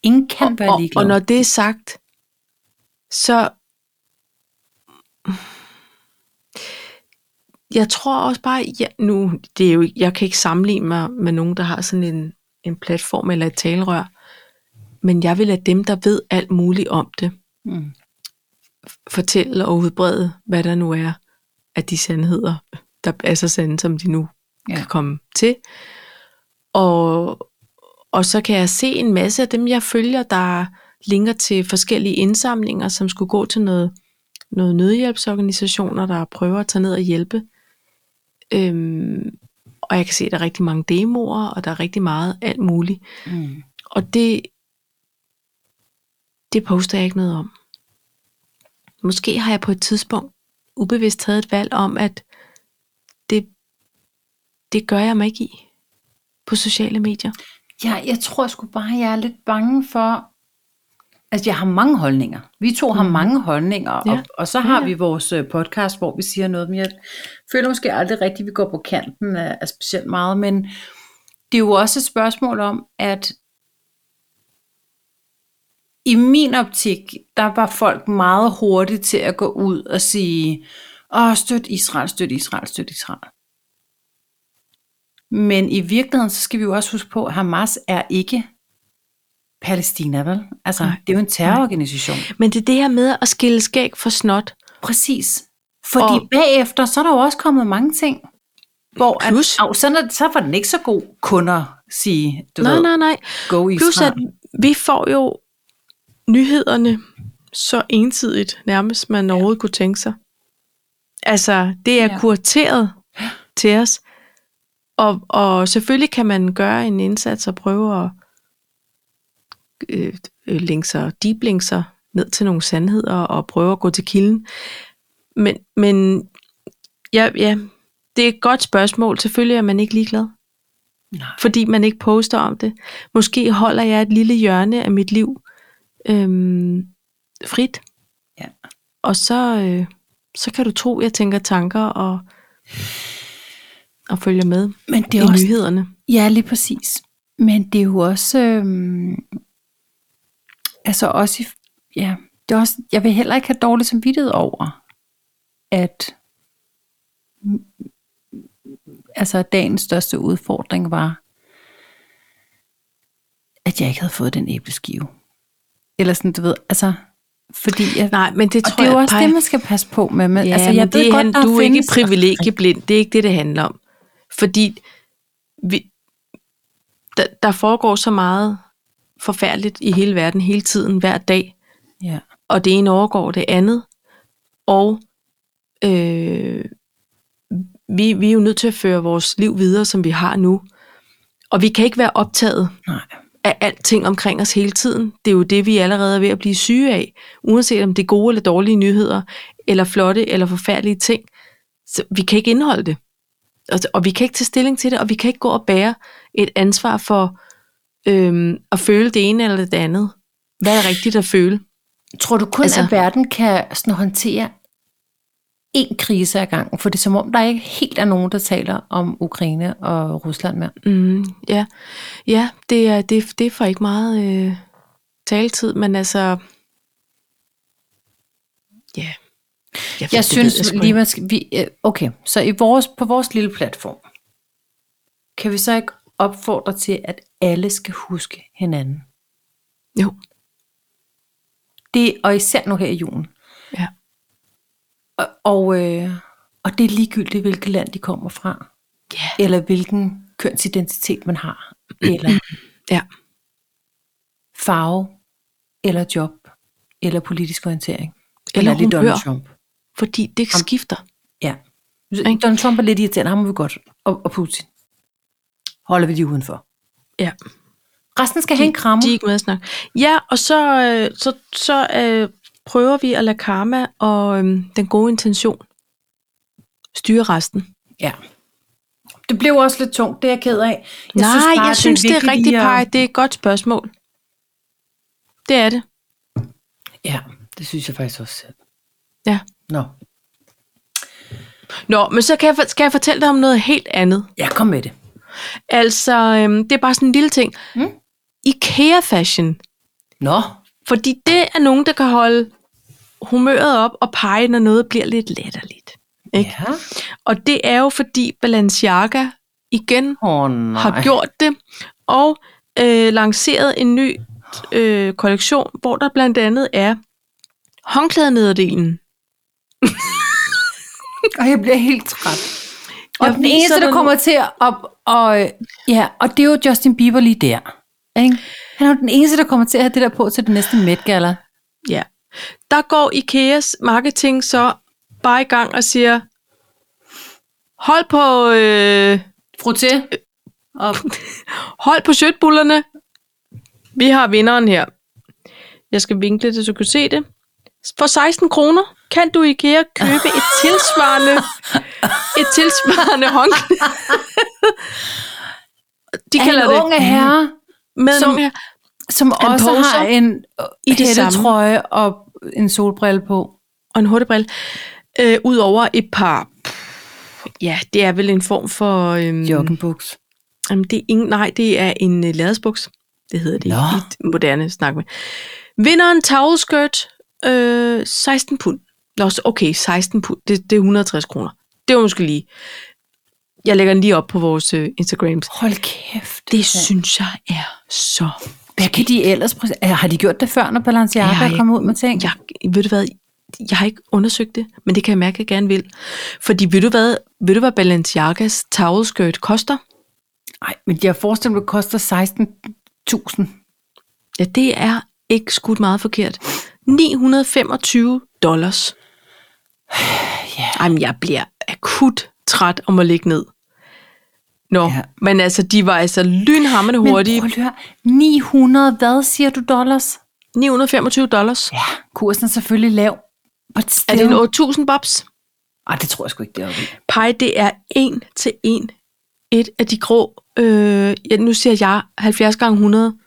Ingen kan og, være og, ligeglad. og når det er sagt, så jeg tror også bare, ja, nu det er jo, jeg kan ikke sammenligne mig med nogen, der har sådan en, en platform eller et talerør, men jeg vil lade dem, der ved alt muligt om det, mm. fortælle og udbrede, hvad der nu er af de sandheder, der er så sande, som de nu Ja. ja. kan komme til. Og, og så kan jeg se en masse af dem, jeg følger, der linker til forskellige indsamlinger, som skulle gå til noget, noget nødhjælpsorganisationer, der prøver at tage ned og hjælpe. Øhm, og jeg kan se, at der er rigtig mange demoer, og der er rigtig meget alt muligt. Mm. Og det, det poster jeg ikke noget om. Måske har jeg på et tidspunkt ubevidst taget et valg om, at det, det gør jeg mig ikke i på sociale medier. Ja, jeg tror sgu bare, jeg er lidt bange for... Altså, jeg har mange holdninger. Vi to har mange holdninger, ja. Mm. Ja. og, og så har Ja, ja. ja. vi vores øh, podcast, hvor vi siger noget, men jeg føler måske aldrig rigtigt, at vi går på kanten af, af specielt meget, men det er jo også et spørgsmål om, at i min optik, der var folk meget hurtige til at gå ud og sige, åh, støt Israel, støt Israel, støt Israel. Men i virkeligheden, så skal vi jo også huske på, at Hamas er ikke Palæstina, vel? Altså, Nej. Nej. det er jo en terrororganisation. Men det er det her med at skille skæg for snot. Præcis. Fordi og Og- bagefter, så er der jo også kommet mange ting, hvor Plus- at, og sådan er, så var den ikke så god kunder sige, du Nej, ved, nej, nej. go Israel. Plus at vi får jo nyhederne så ensidigt, nærmest man overhovedet kunne tænke sig. Altså, det er Ja. ja. kurateret til os. Og, og selvfølgelig kan man gøre en indsats og prøve at øh, øh, linke sig, deeplinke sig ned til nogle sandheder og prøve at gå til kilden. Men, men ja, ja, det er et godt spørgsmål. Selvfølgelig er man ikke ligeglad nej. fordi man ikke poster om det. Måske holder jeg et lille hjørne af mit liv øhm, frit, Ja. og så, øh, så kan du tro, jeg tænker tanker og, og følger med Men det i er også nyhederne. Ja, lige præcis. Men det er jo også, øhm, altså også, i, ja, det er også, jeg vil heller ikke have dårlig samvittighed over, at mm, altså at dagens største udfordring var, at jeg ikke havde fået den æbleskive. Eller sådan, du ved, altså, fordi jeg, Nej, men det og tror det er jo jeg også peger- det, man skal passe på med. Men, Ja, altså, men jeg det ved godt, han, der du er ikke findes- privilegieblind. Det er ikke det, det handler om. Fordi vi, der, der foregår så meget forfærdeligt i hele verden, hele tiden, hver dag. Ja, og det ene overgår det andet. Og øh, vi, vi er jo nødt til at føre vores liv videre, som vi har nu. Og vi kan ikke være optaget nej. af alting omkring os hele tiden. Det er jo det, vi allerede er ved at blive syge af, uanset om det er gode eller dårlige nyheder, eller flotte eller forfærdelige ting. Så vi kan ikke indeholde det. Og, og vi kan ikke tage stilling til det, og vi kan ikke gå og bære et ansvar for øhm, at føle det ene eller det andet. Hvad er rigtigt at føle? Tror du kun, altså, Altså- at verden kan sådan håndtere én krise ad gangen? For det er som om, der ikke helt er nogen, der taler om Ukraine og Rusland mere. Mm, ja, ja det, er, det, det er for ikke meget øh, taletid, men altså... Ja. Yeah. Jeg synes lige, man skal, vi, øh, okay, så i vores, på vores lille platform, kan vi så ikke opfordre til, at alle skal huske hinanden? Jo, Det, og især nu her i julen. ja. Og, og, øh, og det er ligegyldigt, hvilket land de kommer fra, Ja. eller hvilken kønsidentitet man har, eller Mm. *clears throat* ja. farve, eller job, eller politisk orientering. Eller det er humør. Trump. fordi det Ham- skifter. Ja. Donald Trump er lidt irriterende, ham må vi godt. Og, og Putin. Holder vi de udenfor. Ja. Resten skal have en krammer. De er ikke med at snakke. Ja, og så, øh, så, så øh, prøver vi at lade karma og øh, den gode intention styre resten. Ja. Det blev også lidt tungt, det er jeg ked af. Jeg Nej, synes bare, jeg det synes, det er, vigtigt rigtig lige at- pej. Det er et godt spørgsmål. Det er det. Ja, det synes jeg faktisk også selv. Ja. Nå, Nå, men så kan jeg, for- skal jeg fortælle dig om noget helt andet. jeg kom med det. Altså, øhm, det er bare sådan en lille ting. Mm. IKEA-fashion. Nå, Fordi det er nogen, der kan holde humøret op og pege, når noget bliver lidt latterligt. Ikke? ja. Og det er jo fordi Balenciaga igen Åh, nej. har gjort det, og øh, lanceret en ny øh, kollektion, hvor der blandt andet er håndklædenederdelen. Og jeg bliver helt træt. Og Jeg den viser eneste, dig der nu. kommer til at... Op, og, øh, ja, og det er jo Justin Bieber lige der. Ikke? Han er jo den eneste, der kommer til at have det der på til den næste Met Gala. Ja. Der går IKEAs marketing så bare i gang og siger, hold på, øh, Frotté. Og, hold på sødbullerne. Vi har vinderen her. Jeg skal vinkle det, så du kan se det. For 16 kroner kan du i IKEA købe *laughs* et tilsvarende, et tilsvarende *laughs* håndklæde. De kalder en unge det herre, med som- som, her. som Han også poser har en i det samme. hættetrøje og en solbrille på. og en hurtigbrille. Øh, Udover et par, ja, det er vel en form for... Øhm, Joggenbuks. Jamen, det er ingen, nej, det er en uh, lærredsbuks. Det hedder det Nå. Nå. i et moderne snak med. Vinder en towelskirt, øh, 16 pund. Nå, så- okay, 16 pund, det, det er 160 kroner. Det var måske lige. Jeg lægger den lige op på vores øh, Instagrams. Hold kæft. Det synes jeg er så... Hvad kan de ellers... præ- Er- Har de gjort det før, når Balenciaga Ja, er ja. kommet ud med ting? Jeg, ved du hvad, jeg har ikke undersøgt det, men det kan jeg mærke, at jeg gerne vil. Fordi ved du hvad, ved du hvad Balenciagas towelskirt koster? Nej, men jeg forestiller mig, det koster 16.000. Ja, det er ikke skudt meget forkert. 925 dollars. Ja. Jamen, jeg bliver akut træt om at ligge ned. Nå, Ja. ja. men altså, de var altså lynhammerne hurtige. Men prøv lige at høre. 900, hvad siger du, dollars? 925 dollars. Ja, kursen er selvfølgelig lav. But Er still. det en 8000 bobs? Ej, det tror jeg sgu ikke, det er oppe i. Pej, det er en til en. Et af de grå, øh, ja, nu siger jeg 70 gange 100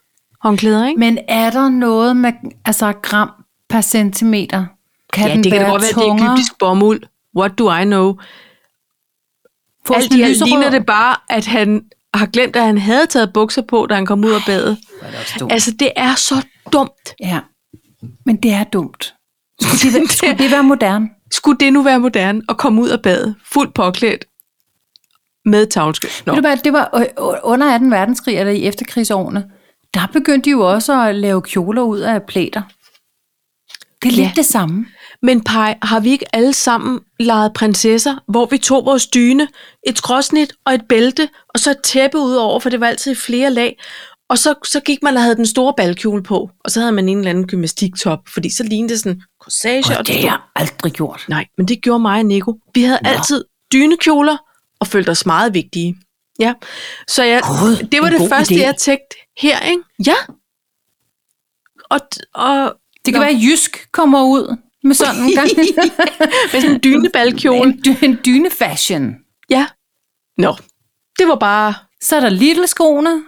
håndklæder, ikke? Men er der noget med altså, gram per centimeter? Kan ja, den det kan da være godt være, det er tungere? egyptisk bomuld. What do I know? Få Alt sådan i en alt Altså, lyserød. ligner det bare, at han har glemt, at han havde taget bukser på, da han kom ud af badet. Hvor er det også dumt. Altså, det er så dumt. Ja, men det er dumt. Skulle det, *laughs* være- skulle det være moderne? Skulle det nu være moderne at komme ud af badet, fuldt påklædt, med tavlskøb? Nå, Ved du hvad, det var øh, øh, under 2. verdenskrig, eller i efterkrigsårene, der begyndte de jo også at lave kjoler ud af plæter. Det er Ja. lidt det samme. men Pej, har vi ikke alle sammen leget prinsesser, hvor vi tog vores dyne, et skråsnit og et bælte, og så et tæppe ud over, for det var altid i flere lag, og så, så gik man og havde den store balkjole på, og så havde man en eller anden gymnastiktop, fordi så lignede det sådan corsage og, Og det har jeg aldrig gjort. Nej, men det gjorde mig og Nico. Vi havde Nå. Nå. altid dynekjoler og følte os meget vigtige. Ja, så jeg, God, det var en det god første, idé. idé. jeg tænkte her, ikke? Ja. Og, og Det kan Nå. være, at Jysk kommer ud med sådan en, *laughs* gang, med sådan en *laughs* dynebalkjole. en, dy- en dyne-fashion. Ja. Nå, det var bare... Så er der Lidl-skoene,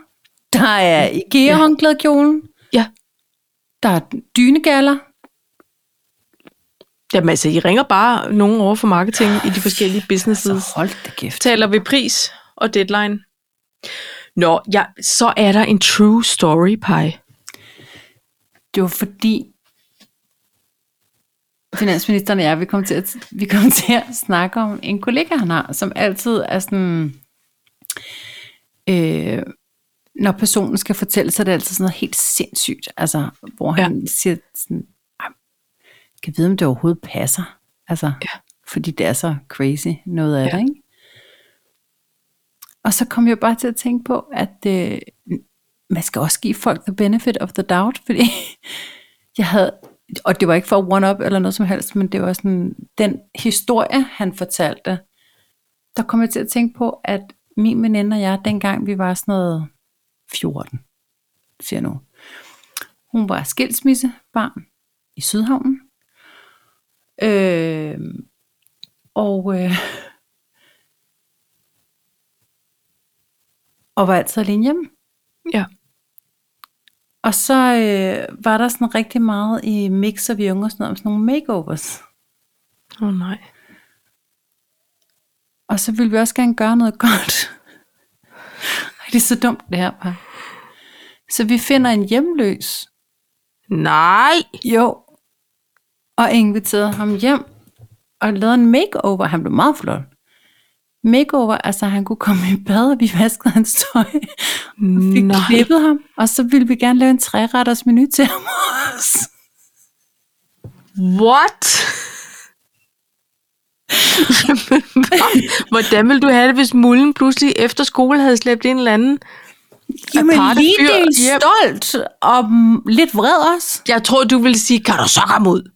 der er IKEA-håndklædekjolen, Ja. der er dynegaller. Jamen altså, I ringer bare nogen over for marketing i de forskellige businesses. Så hold da kæft. taler vi pris og deadline. Nå, ja, så er der en true story, Pai. Det var fordi, finansministeren og jeg, vi kom til at, vi kom *laughs* til at snakke om en kollega, han har, som altid er sådan... Øh, når personen skal fortælle, så er det altid sådan noget helt sindssygt. Altså, hvor Ja. han siger sådan, "Ej, kan vide, om det overhovedet passer. Altså, ja. fordi det er så crazy noget af ja. Ja. det, ikke? Og så kom jeg bare til at tænke på, at øh, man skal også give folk the benefit of the doubt, fordi jeg havde og det var ikke for one-up eller noget som helst, men det var sådan, den historie, han fortalte, der kom jeg til at tænke på, at min veninde og jeg, dengang vi var sådan noget 14, siger jeg nu, hun var skilsmissebarn i Sydhavnen. Øh, og, øh, og var altid alene hjemme. Ja. Og så øh, var der sådan rigtig meget i mixer vi unge og sådan noget, om sådan nogle makeovers. Åh oh, nej. Og så ville vi også gerne gøre noget *laughs* godt. Ej, det er så dumt det her, par. Så vi finder en hjemløs. Nej! Jo. Og inviterede ham hjem. Og lavede en makeover. Han blev meget flot. Makeover, altså han kunne komme i bad, og vi vaskede hans tøj. Og fik Nej. klippet ham. Og så ville vi gerne lave en træretters menu til ham *laughs* også. *laughs* What? Hvordan ville du have det, hvis mulden pludselig efter skole havde slæbt en eller anden? Jamen Aparte lige fyr. del Yep. stolt og mm, lidt vred også. Jeg tror, du ville sige, kan du så komme ud?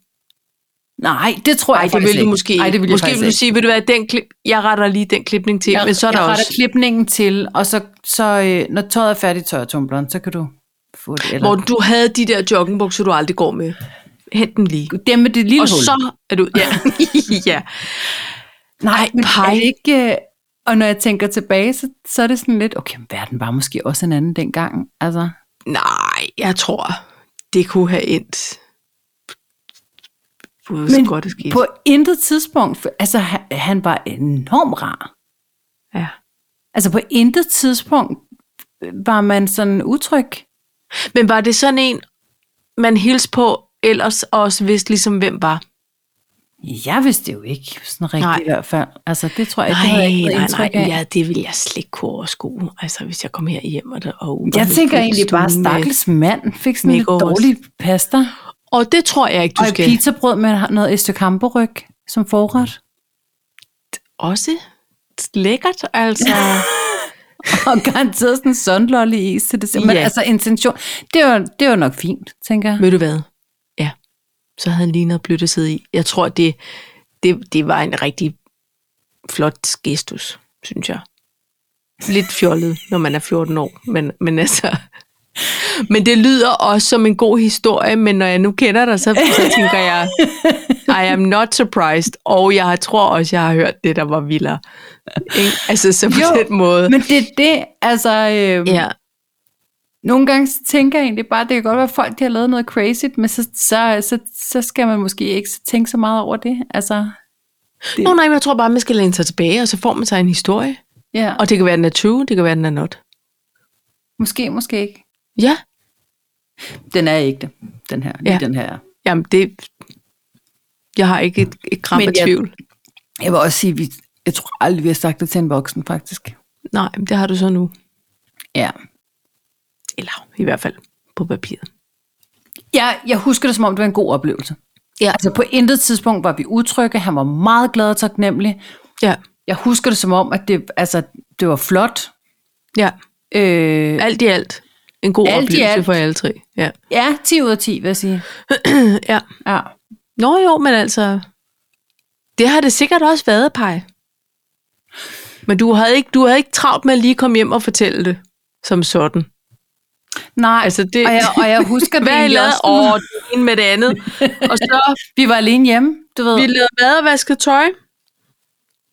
Nej, det tror Nej, jeg det faktisk ville du ikke. måske Ej, det ville jeg Måske faktisk ville du ikke. sige, vil du være den klip, jeg retter lige den klipning til, Jeg, men så er der jeg også... retter klipningen til, og så, så øh, når tøjet er færdigt i tørretumbleren, så kan du få det. Eller, Hvor du havde de der joggingbukser, du aldrig går med. Hent dem lige. dem med det lille Og hul. så er du... Ja. *laughs* ja. Nej, men pej. er det ikke... øh, Og når jeg tænker tilbage, så, så er det sådan lidt, okay, men verden var måske også en anden dengang. Altså, Nej, jeg tror, det kunne have endt... Gud, så men godt det skete. på intet tidspunkt, for, altså han, han var enormt rar. Ja. Altså på intet tidspunkt øh, var man sådan utryg. Men var det sådan en, man hils på, ellers og også vidste ligesom, hvem var? Jeg vidste det jo ikke, sådan rigtigt Nej. i hvert fald. Altså det tror jeg, det havde Nej, jeg ikke noget nej, nej, indtryk af. ja, det ville jeg slet ikke kunne overskue. Altså, hvis jeg kom her hjem og der og Jeg tænker og- egentlig bare, stuen med- stakkels mand fik sådan lidt makeovers. dårlig pasta. Og det tror jeg ikke, du Og et skal. pizzabrød med noget estekambryg som *laughs* forret. Også lækkert, altså. *laughs* Og garanteret sådan en sundlolly is til det. Men Ja. altså intention, det var, det var nok fint, tænker jeg. Ved du hvad? Ja, så havde han lige noget blødt at sidde i. Jeg tror, det, det, det var en rigtig flot gestus, synes jeg. Lidt fjollet, når man er 14 år, men, men altså... Men det lyder også som en god historie, men når jeg nu kender dig, så, så tænker jeg, I am not surprised, og jeg tror også, jeg har hørt det, der var vildere. Ikke? Altså, så på Jo, den måde. Men det er det, altså... Øh, Ja, Nogle gange så tænker jeg egentlig bare, at det kan godt være, at folk de har lavet noget crazy, men så, så, så, så skal man måske ikke tænke så meget over det. Altså, Nå nej, men jeg tror bare, man skal læne sig tilbage, og så får man sig en historie. ja. Og det kan være, den er 20, det kan være, den er not. Måske, måske ikke. Ja, Den er ikke det, den her. Lige Ja. den her. jamen det... Jeg har ikke et, et gram Men af jeg- tvivl. Jeg vil også sige, vi, jeg tror aldrig, vi har sagt det til en voksen, faktisk. Nej, men det har du så nu. Ja. Eller i hvert fald på papiret. Jeg, jeg husker det, som om det var en god oplevelse. Ja. Altså, på intet tidspunkt var vi utrygge. Han var meget glad og taknemmelig. Ja, Jeg husker det, som om, at det, altså, det var flot. ja. Øh, Alt i alt. En god Alt i alt oplevelse alt. for alle tre. Ja. *clears throat* ja, 10 ud af 10, vil jeg sige. ja. Ja. Nå jo, men altså... Det har det sikkert også været, Paj. Men du havde, ikke, du havde ikke travlt med at lige komme hjem og fortælle det som sådan. Nej, Altså, altså det- det... og, jeg, og jeg *laughs* husker det Hvad har I egentlig lavet? også. Åh, det ene med det *laughs* andet. Og så Vi var alene hjemme, du ved. vi lavede mad og vaskede tøj.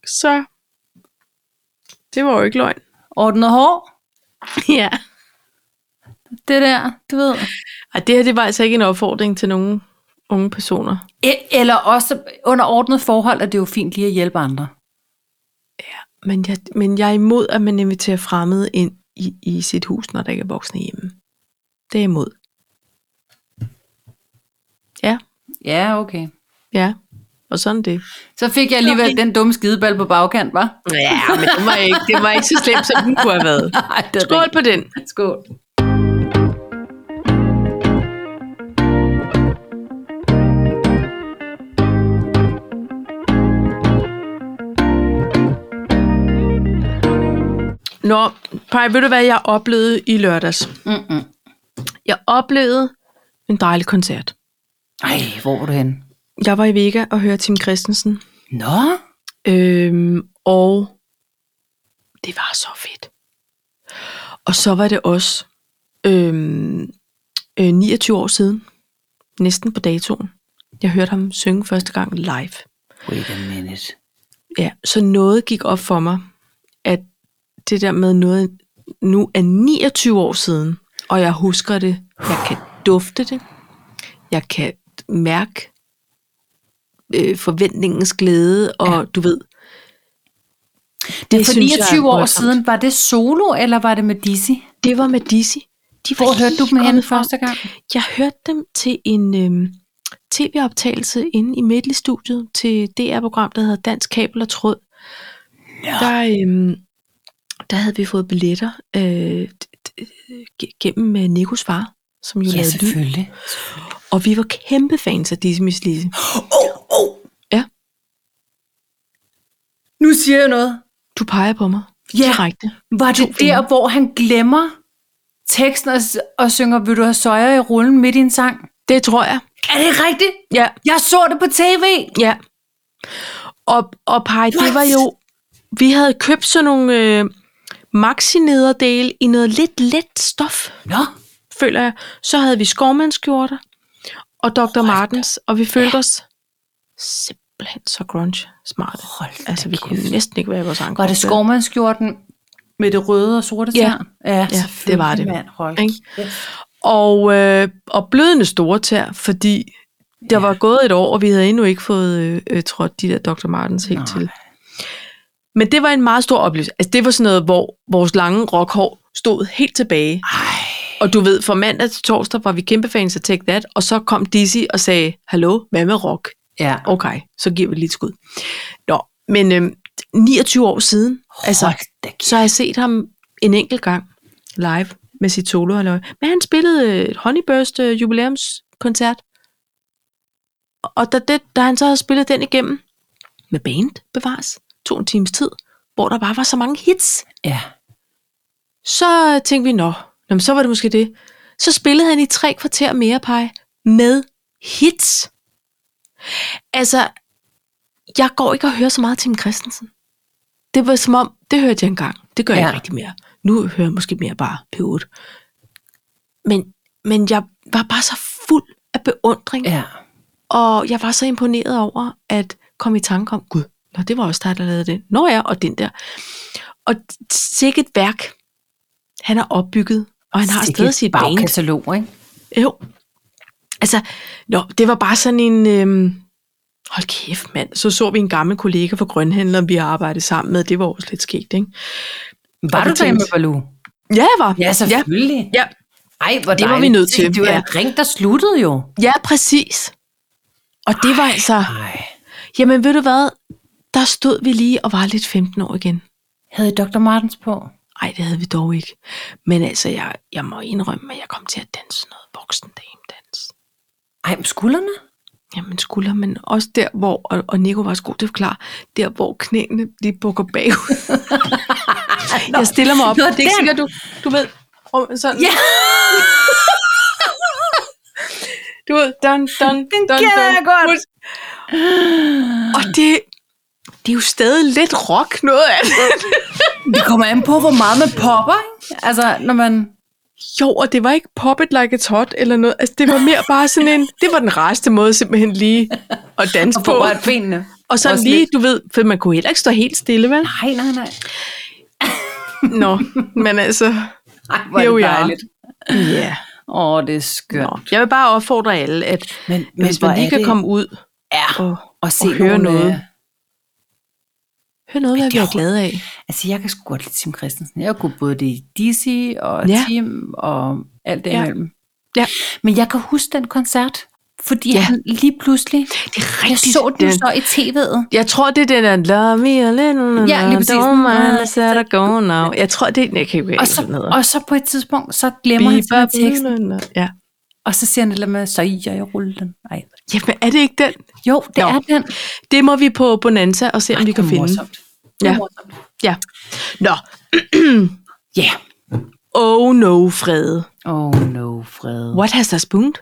Så det var jo ikke løgn. Ordnet hår, *laughs* Ja. det der, du ved. Ej, det her det var altså ikke en opfordring til nogen unge personer. E- Eller også under ordnet forhold, er det jo fint lige at hjælpe andre. Men jeg, men jeg er imod, at man inviterer fremmede ind i, i sit hus, når der ikke er voksne hjemme. Det er jeg imod. Ja, Ja, okay. ja. Og sådan er det. Så fik jeg alligevel den dumme skideball på bagkant, var? Ja, men det var ikke, det var ikke så slemt, som den kunne have været. *laughs* Nej, det *laughs* er Skål på den. rigtigt. Skål. Nå, Paj, ved du hvad jeg oplevede i lørdags? Mm-mm. Jeg oplevede en dejlig koncert. Ej, hvor var du henne? Jeg var i Vega og hørte Tim Christensen. Nå, Øhm, og det var så fedt. Og så var det også øhm, øh, 29 år siden, næsten på datoen, jeg hørte ham synge første gang live. wait a minute. Ja, så noget gik op for mig, at det der med noget nu er 29 år siden, og jeg husker det, jeg kan dufte det, jeg kan mærke øh, forventningens glæde, og ja. du ved. Det, Men for synes jeg er 29 år voldsomt. siden, var det solo, eller var det med Dizzy? Det var med Dizzy. De var Hvor hørte du lige dem henne kommet frem. første gang? Jeg hørte dem til en øhm, tv-optagelse inde i Midtly-studiet til DR-program, der hedder Dansk Kabel og Tråd. Ja. Der, øhm, der havde vi fået billetter øh, d- d- g- gennem øh, Nikos far, som jo Ja, lavede lyd. selvfølgelig. Og vi var kæmpe fans af Dizzy Miss Lizzy. Oh, oh. Ja. Nu siger jeg noget. Du peger på mig Ja. direkte. Var det der, hvor han glemmer teksten og, s- og synger, vil du have søjer i rullen midt i en sang? Det tror jeg. Er det rigtigt? Ja. Jeg så det på tv. Ja. Og, og pej, det var jo... Vi havde købt sådan nogle øh, maxi-nederdele i noget lidt let stof, Nå, føler jeg. Så havde vi skovmandskjorter og Dr. Martens, og vi følte os simpelthen så grunge smarte. Hold da Altså, vi kunne kæft. næsten ikke være i vores egen var det krop. skovmandskjorten med det røde og sorte Ja. tern? Ja, ja det var det. Mand, hold Ikke? kæft. Og, øh, og blødende store tær, fordi der var gået et år, og vi havde endnu ikke fået øh, øh, trådt de der Dr. Martens helt Nej. til. Men det var en meget stor oplevelse. Altså, det var sådan noget, hvor vores lange rockhår stod helt tilbage. Ej, Og du ved, fra mandag til torsdag var vi kæmpe fans af Take That, og så kom Dizzy og sagde, hallo, hvad med rock? ja. Okay, så giver vi lige et skud. Nå, men øh, 29 år siden, altså, Hold da kæft. så har jeg set ham en enkelt gang live med sit solo. Men han spillede øh, et Honeyburst øh, jubilæumskoncert. Og da, det, da han så havde spillet den igennem med band bevares, to en times tid, hvor der bare var så mange hits, Ja. så øh, tænkte vi, nå, nå men så var det måske det. Så spillede han i tre kvarter mere, pej, med hits. Altså, jeg går ikke og hører så meget Tim Christensen. Det var som om, det hørte jeg engang. Det gør ja. Ja. jeg ikke rigtig mere. Nu hører jeg måske mere bare P8. Men, men jeg var bare så fuld af beundring, ja. ja. og jeg var så imponeret over, at komme i tanke om, gud, nå, det var også dig, der lavede det. Nå ja, og den der. Og sikkert værk, han har opbygget, og han har Sikke stadig et sit band. bagkatalog, ikke? Jo. Altså, nå, det var bare sådan en... Øhm, hold kæft, mand. Så så vi en gammel kollega fra Grønhandleren, vi har arbejdet sammen med. Det var også lidt skægt, ikke? Var Og du vi derinde tænkte- med Baloo? Ja, jeg var. Ja, ja, selvfølgelig. ja, Ej, hvor Det var vi dejligt. nødt til, Det var ja. en drink, der sluttede jo. ja, præcis. Og det var altså... Ej. Jamen, ved du hvad? Der stod vi lige og var lidt 15 år igen. Havde I Dr. Martens på? Nej, det havde vi dog ikke. Men altså, jeg, jeg må indrømme, at jeg kom til at danse noget voksendamedans. Ej, med skuldrene? Jamen skulder, men også der, hvor, og, og Nico var også god til at forklare, der hvor knæene de bukker *laughs* bagud. jeg stiller mig op. Nå, det er ikke den. sikkert, du, du ved. Og sådan, Ja. Du ved, dun, dun, Den dun, kender dun. jeg godt. Og det, det er jo stadig lidt rock noget af det. Det kommer an på, hvor meget man popper, ikke? Altså, når man... Jo, og det var ikke pop it like it's hot eller noget. Altså, det var mere bare sådan en, det var den rareste måde simpelthen lige at *laughs* danse Og på. berørt benene. Og så Også lige, lidt. du ved, for man kunne heller ikke stå helt stille, vel? Nej, nej, nej. *laughs* Nå, men *laughs* altså, Ej, hvor er Jo, det ja. dejligt. ja. Yeah. Åh, det er skønt. Nå, jeg vil bare opfordre alle, at Men, Men hvis man lige kan komme ud Ja, og og se og høre nogle, noget. øh, høre noget, hvad vi Jo. er glade af. Altså, jeg kan sgu godt lide Tim Christensen. Jeg kunne både det Dizzy og Ja. ja. Tim og alt det Ja. ja. imellem. Ja. Men jeg kan huske den koncert, fordi Ja. ja. han lige pludselig... Det er Jeg så den jo så i tv'et. Jeg tror, det er den der, love me a little, Ja, lige præcis. don't mind, I said I go now. Jeg tror, det er den, jeg kan ikke Og huske, så, hvad den hedder. og så på et tidspunkt, så glemmer han simpelthen teksten. Bibabibabibab. Ja. Og så siger han et eller andet med, så i jeg ruller den. Ej. Jamen, er det ikke den? Jo, det Nå. Nå. er den. Det må vi på Bonanza og se, om vi kan finde. Ja. Ja. Ja. Nå, Ja. oh no, Frede. Oh no, Fred. What has that spooned?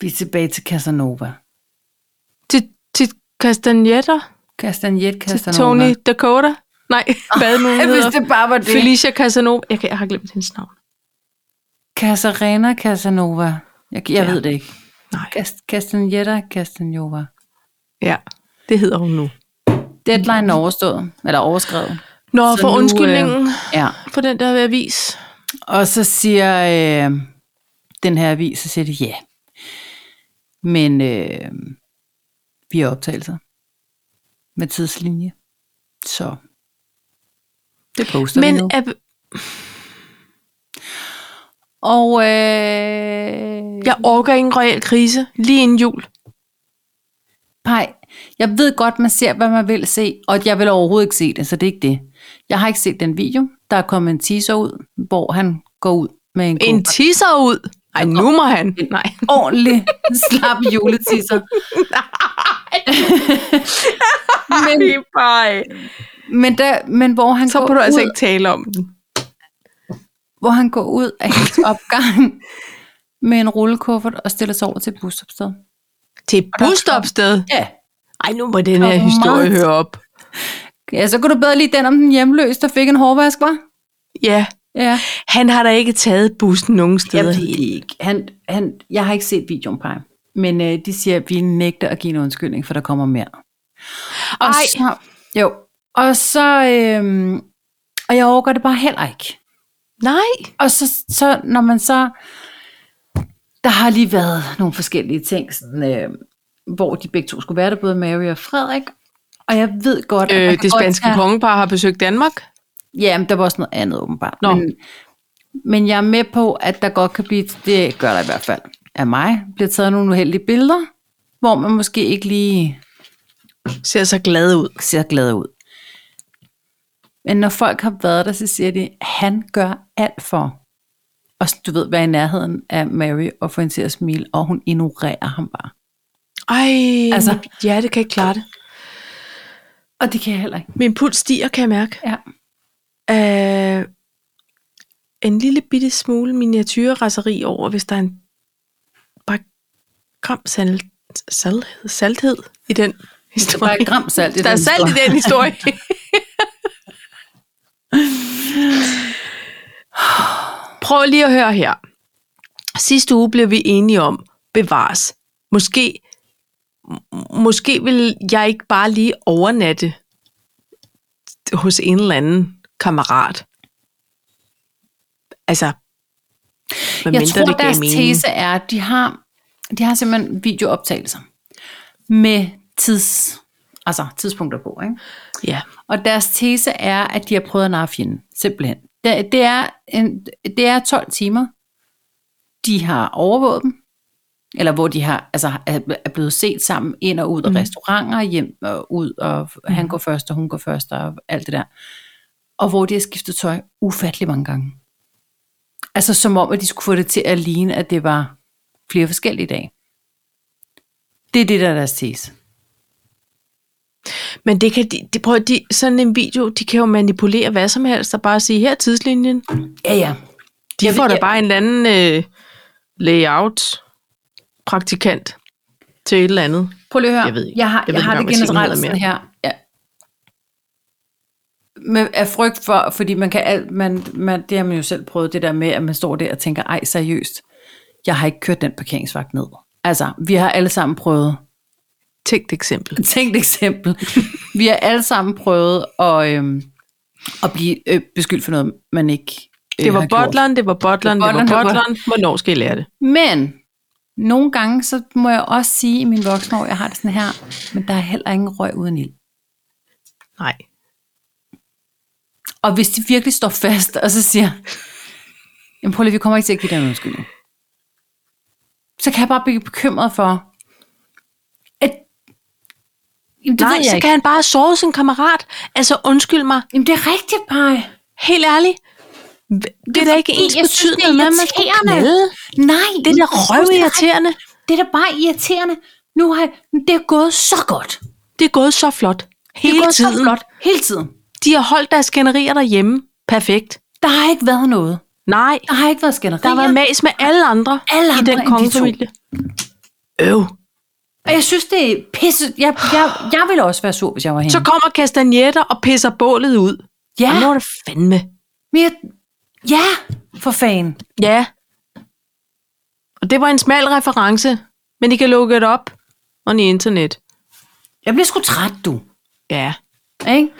Vi er tilbage til Casanova. Til, til Castagnetter? Castagnet Til Casanova. Tony Dakota? *laughs* Nej, hvad nu hun Hvis hedder. det bare var det. Felicia Casanova. Jeg, kan, jeg har glemt hendes navn. Casarena Casanova. Jeg, jeg Ja. ved det ikke. Nej. Cas- Castagnetta Castanova. Ja, det hedder hun nu. Deadline overstået. Eller overskrevet. Nå, Så for nu, øh, undskyldningen Ja. på den der avis. Og så siger øh, den her avis, så siger de ja. Men øh, vi har optagelser med tidslinje. Så det poster Men vi nu. er, Og øh, jeg orker ikke en royal krise lige inden jul. Nej, jeg ved godt, man ser, hvad man vil se, og jeg vil overhovedet ikke se det, så det er ikke det. Jeg har ikke set den video. Der er kommet en teaser ud, hvor han går ud med en, En god- tisser ud. Ej, nu må han. *laughs* Nej. ordentlig slap juleteaser. men, Bye. men, der, men hvor han Så går må du ud, altså ikke tale om den. hvor han går ud af *laughs* hendes opgang med en rullekuffert og stiller sig over til et busstopsted. Til der- busstopsted. Ja. Ej, nu må den Der her var historie meget- høre op. ja, så kunne du bedre lide den om den hjemløse, der fik en hårvask, var? Ja, Ja. han har da ikke taget bussen nogen Jeg steder. ved det ikke. Han, han, jeg har ikke set videoen på ham. Men øh, de siger, at vi nægter at give en undskyldning, for der kommer mere. Og Ej. Så, jo. Og så... Øh, og jeg overgår det bare heller ikke. Nej. Og så, så når man så... Der har lige været nogle forskellige ting, sådan, øh, hvor de begge to skulle være der, både Mary og Frederik. Og jeg ved godt, at man Øh, kan det godt spanske tage- kongepar har besøgt Danmark. Ja, men der var også noget andet åbenbart. Nå. Men, men jeg er med på, at der godt kan blive, det gør der i hvert fald af mig, bliver taget nogle uheldige billeder, hvor man måske ikke lige Ser så glad ud. ser glad ud. Men når folk har været der, så siger de, han gør alt for og du ved, være i nærheden af Mary og få hende til at smile, og hun ignorerer ham bare. Ej, Altså- altså, ja, det kan ikke klare det. Og det kan jeg heller ikke. Min puls stiger, kan jeg mærke. Ja. Øh, en lille bitte smule miniatyrraseri over, hvis der er en bare gram sal, sal, salthed i den Der er historie. et gram salt i Der er den salt historie. i den *laughs* historie. Prøv lige at høre her. Sidste uge blev vi enige om, bevares. Måske, m- måske vil jeg ikke bare lige overnatte hos en eller anden kammerat. Altså, hvad jeg tror, deres tese er, at de har, de har simpelthen videooptagelser med tids, altså tidspunkter på. Ikke? Ja. Og deres tese er, at de har prøvet at narre fjenden, simpelthen. Det, det, er en, det er 12 timer, de har overvåget dem, eller hvor de har, altså, er er blevet set sammen ind og ud af Mhm. restauranter, hjem og ud, og han går først, og hun går først, og alt det der. Og hvor de har skiftet tøj ufattelig mange gange. Altså som om, at de skulle få det til at ligne, at det var flere forskellige dage. Det er det, der er deres tese. Men det kan de, de, prøv, at- de, sådan en video, de kan jo manipulere hvad som helst, og bare sige, her er tidslinjen. Ja, ja. De Jeg jeg får ved- da jeg- bare en eller anden øh, layout-praktikant til et eller andet. Prøv lige at høre. Jeg ved ikke. Jeg har, Jeg jeg ved jeg har ikke det engang, hvad generelt tingene sådan her. Ja. Med, af frygt for, fordi man kan alt, man, man, det har man jo selv prøvet, det der med, at man står der og tænker, ej seriøst, jeg har ikke kørt den parkeringsvagt ned. Altså, vi har alle sammen prøvet, *laughs* Tænkt eksempel. tænkt eksempel, vi har alle sammen prøvet at, øhm, at blive øh, beskyldt for noget, man ikke øh, Det var har gjort. butleren, det var butleren, det var butleren, det var- butleren. Hvornår skal I lære det? Men nogle gange, så må jeg også sige i min voksne år, jeg har det sådan her, men der er heller ingen røg uden ild. Nej. Og hvis de virkelig står fast, og så siger, jamen prøv lige, vi kommer ikke til at give dig en undskyldning. Så kan jeg bare blive bekymret for, at... Jamen, det Nej, ved så jeg kan ikke. han bare sove sin kammerat. Altså, undskyld mig. Jamen, det er rigtigt, Paj. Helt ærligt. Det er da ikke ens jeg synes, det er betydning, med, at man skal irriterende. knalde. Nej, Det er da røvirriterende. Det er da bare irriterende. Nu har jeg, det er gået så godt. Det er gået så flot. det er Hele gået tiden. så flot. Hele tiden. De har holdt deres skænderier derhjemme. Perfekt. Der har ikke været noget. Nej, Der har ikke været skænderier. der var mas med alle andre Alle i andre den end de kongefamilie. øv. Og jeg synes, det er pisse... Jeg, jeg, jeg ville også være sur, hvis jeg var hende. Så kommer kastanjetter og pisser bålet ud. ja, Og nu er det fandme. men jeg, ja, for fanden. Ja. Og det var en smal reference, men I kan lukke det op on i internet. Jeg bliver sgu træt, du. Ja. Ikke?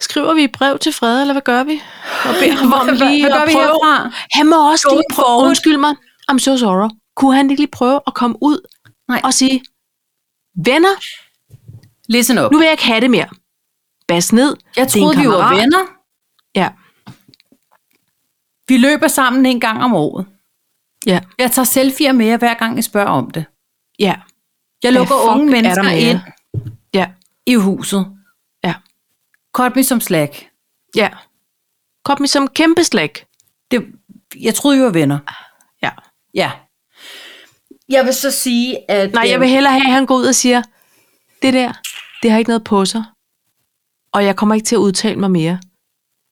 Skriver vi et brev til Frede, eller hvad gør vi? Og *laughs* beder ham om Hvad- lige hvad at gør vi prøve. herfra? Han må også lige Going prøve, forward. undskyld mig, I'm so sorry. Kunne han ikke lige prøve at komme ud Nej. og sige, venner, Listen op. nu vil jeg ikke have det mere. Bas ned. Jeg det er en troede, vi var kammerat. venner. Ja. Vi løber sammen en gang om året. Ja. Jeg tager selfie'er med jer, hver gang I spørger om det. Ja. Jeg Ja, lukker fuck, unge er der mennesker mere? ind Ja. i huset. Ja. Cut me som slag. Ja. Kom med som kæmpe slæk. Det, jeg troede, I var venner. Ja. Ja. Jeg vil så sige, at... øh, Nej, jeg vil hellere have, at han går ud og siger, det der, det har ikke noget på sig. Og jeg kommer ikke til at udtale mig mere.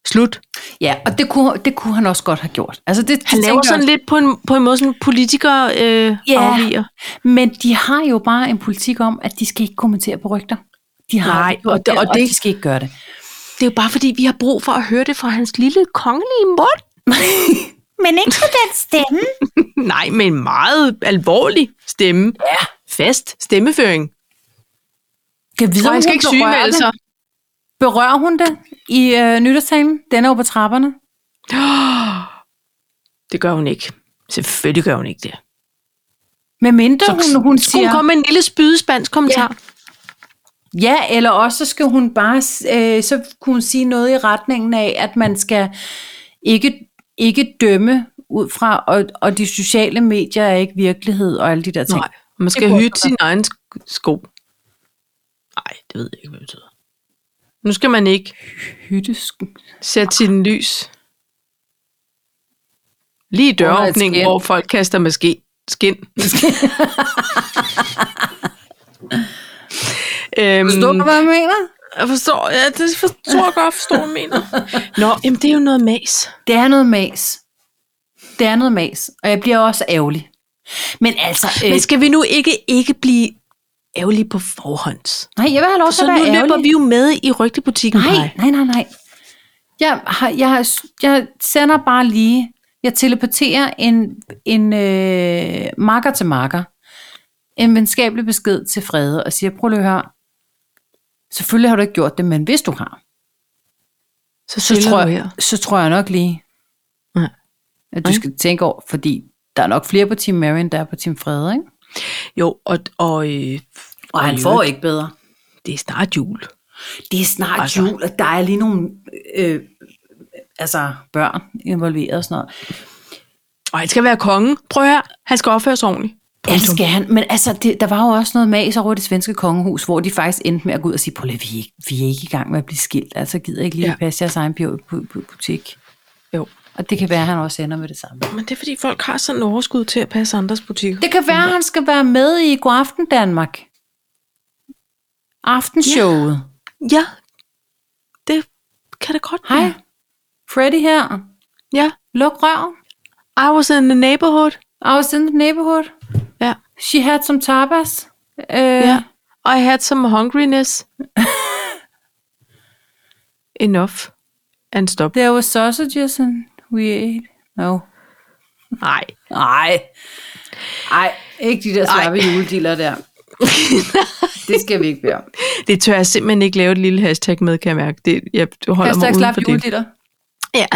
Slut. Ja, og det kunne, det kunne han også godt have gjort. Altså, det, Han det laver tænker jeg sådan lidt på en, på en måde sådan politiker øh, Ja. afviger. også. Men de har jo bare en politik om, at de skal ikke kommentere på rygter. De har Nej, aldrig gjort og det- og og det- de skal ikke gøre det. Det er jo bare fordi, vi har brug for at høre det fra hans lille kongelige mund. Men ikke på den stemme. Nej, men en meget alvorlig stemme. Ja. Fast stemmeføring. Kan vide, Så om han hun skal ikke berører sygemelde det? sig. Berører hun det i øh, nytårstalen? Den er jo på trapperne. Det gør hun ikke. Selvfølgelig gør hun ikke det. Med mindre hun, hun Skulle siger... hun komme med en lille spydespansk kommentar? Ja, eller også skal hun bare, øh, så kunne hun sige noget i retningen af, at man skal ikke, ikke dømme ud fra, og, og de sociale medier er ikke virkelighed og alle de der ting. Nej, man skal kunne hytte også sin egen sk- sko. Nej, det ved jeg ikke, hvad det betyder. Nu skal man ikke Hyttesk- sætte sin lys lige i døråbningen, skin. hvor folk kaster med ske. *laughs* skin. øhm, Forstår du, hvad jeg mener? Jeg forstår, ja, det forstår jeg godt, forstår hvad du mener. Nå, jamen det er jo noget mas. Det er noget mas. Det er noget mas, og jeg bliver også ærgerlig. Men altså, øh, Men skal vi nu ikke, ikke blive ærgerlige på forhånd? nej, jeg vil have lov til Så at nu være ærgerlig. løber vi jo med i rygtebutikken. Nej, Paj. nej, nej, nej. Jeg, har, jeg, har- jeg sender bare lige, jeg teleporterer en, en øh, marker til marker, en venskabelig besked til Frede, og siger, prøv lige at høre, selvfølgelig har du ikke gjort det, men hvis du har, Så, så stiller tror, du jeg, så tror jeg nok lige, Ja. at du skal tænke over, fordi der er nok flere på Team Mary, end der er på Team Frede, ikke? Jo, og, og, øh, Og han i får øvrigt, ikke bedre. Det er snart jul. Det er snart Altså. altså. jul, og der er lige nogle øh, altså børn involveret og sådan noget. Og han skal være konge. Prøv her. Han skal opføre sig ordentligt. Ja, det Punktum. skal han. Men altså, det, der var jo også noget mas over i det svenske kongehus, hvor de faktisk endte med at gå ud og sige, prøv lige, vi, er ikke, vi er ikke i gang med at blive skilt, altså gider ikke lige Ja. ja. passe jeres egen bu- bu- bu- butik. Jo. Og det kan være, at han også ender med det samme. Men det er fordi, folk har sådan en overskud til at passe andres butikker. Det kan være, at han skal være med i Godaften Danmark. Aftenshowet. Ja. Det kan det godt Ja. Hej, være. Freddy her. Ja. Luk røven. I was in the neighborhood. I was in the neighborhood. Ja. She had some tapas. Uh, Ja. Øh, I had some *laughs* hungriness. Enough. And stop. There were sausages and we ate. No. Nej. Nej. Nej, ikke de der slappe julediller *laughs* der. det skal vi ikke bede om. Det tør jeg simpelthen ikke lave et lille hashtag med, kan jeg mærke. Det, jeg holder Hashtag mig uden slap for det. julediller. *laughs* Ja,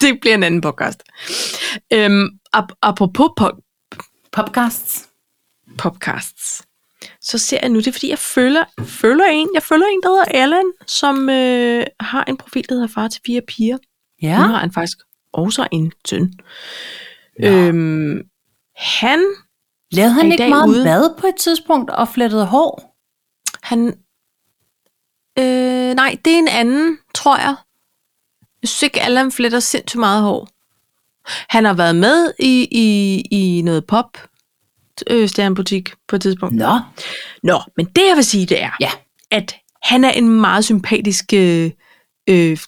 det bliver en anden podcast. Øhm, ap- apropos po- Popcasts. podcasts, så ser jeg nu, det er fordi, jeg følger, følger en, jeg følger en, der hedder Allan, som øh, har en profil, der hedder Far til fire piger. Ja. Ja. Nu har han faktisk også en søn. Ja. Øhm, han, Lavede Er han I ikke dag meget ude? mad på et tidspunkt og flettede hår? han, øh, nej, det er en anden, tror jeg. Jeg synes ikke, Allan fletter sindssygt meget hår. Han har været med i, i, i noget pop øh, stjernebutik på et tidspunkt. Nå. Nå, men det jeg vil sige, det er, Ja. at han er en meget sympatisk øh, øh,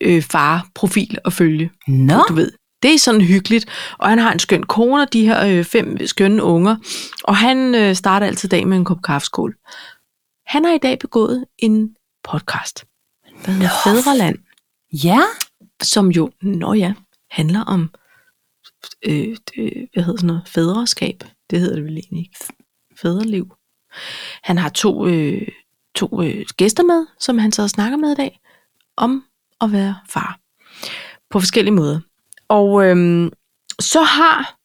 øh, farprofil at følge, Nå. du ved. Det er sådan hyggeligt. Og han har en skøn kone og de her øh, fem skønne unger. Og han øh, starter altid dagen med en kop kaffeskål. Han har i dag begået en podcast, der hedder Nå. Fædreland, Ja. som jo, nå ja, handler om, øh, det, hvad hedder sådan noget, fædreskab. Det hedder det vel egentlig ikke. Fædreliv. Han har to, øh, to øh, gæster med, som han så snakker med i dag, om at være far. På forskellige måder. Og øhm, så har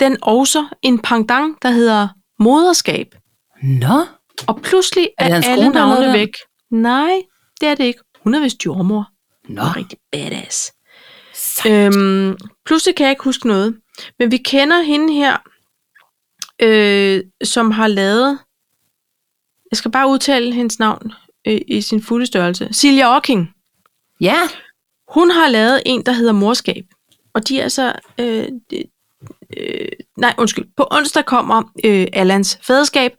den også en pendant, der hedder moderskab. Nå. Og pludselig Er det er, hans alle kone, der har navne lavet den? væk. Nej, det er det ikke. Hun er vist jordmor. Nå. Hun er rigtig badass. Øhm, pludselig kan jeg ikke huske noget. Men vi kender hende her, øh, som har lavet... Jeg skal bare udtale hendes navn øh, i sin fulde størrelse. Silja Ocking. Ja. Hun har lavet en, der hedder Morskab. Og de er så... Øh, de, øh, nej, undskyld. På onsdag kommer øh, Allans faderskab,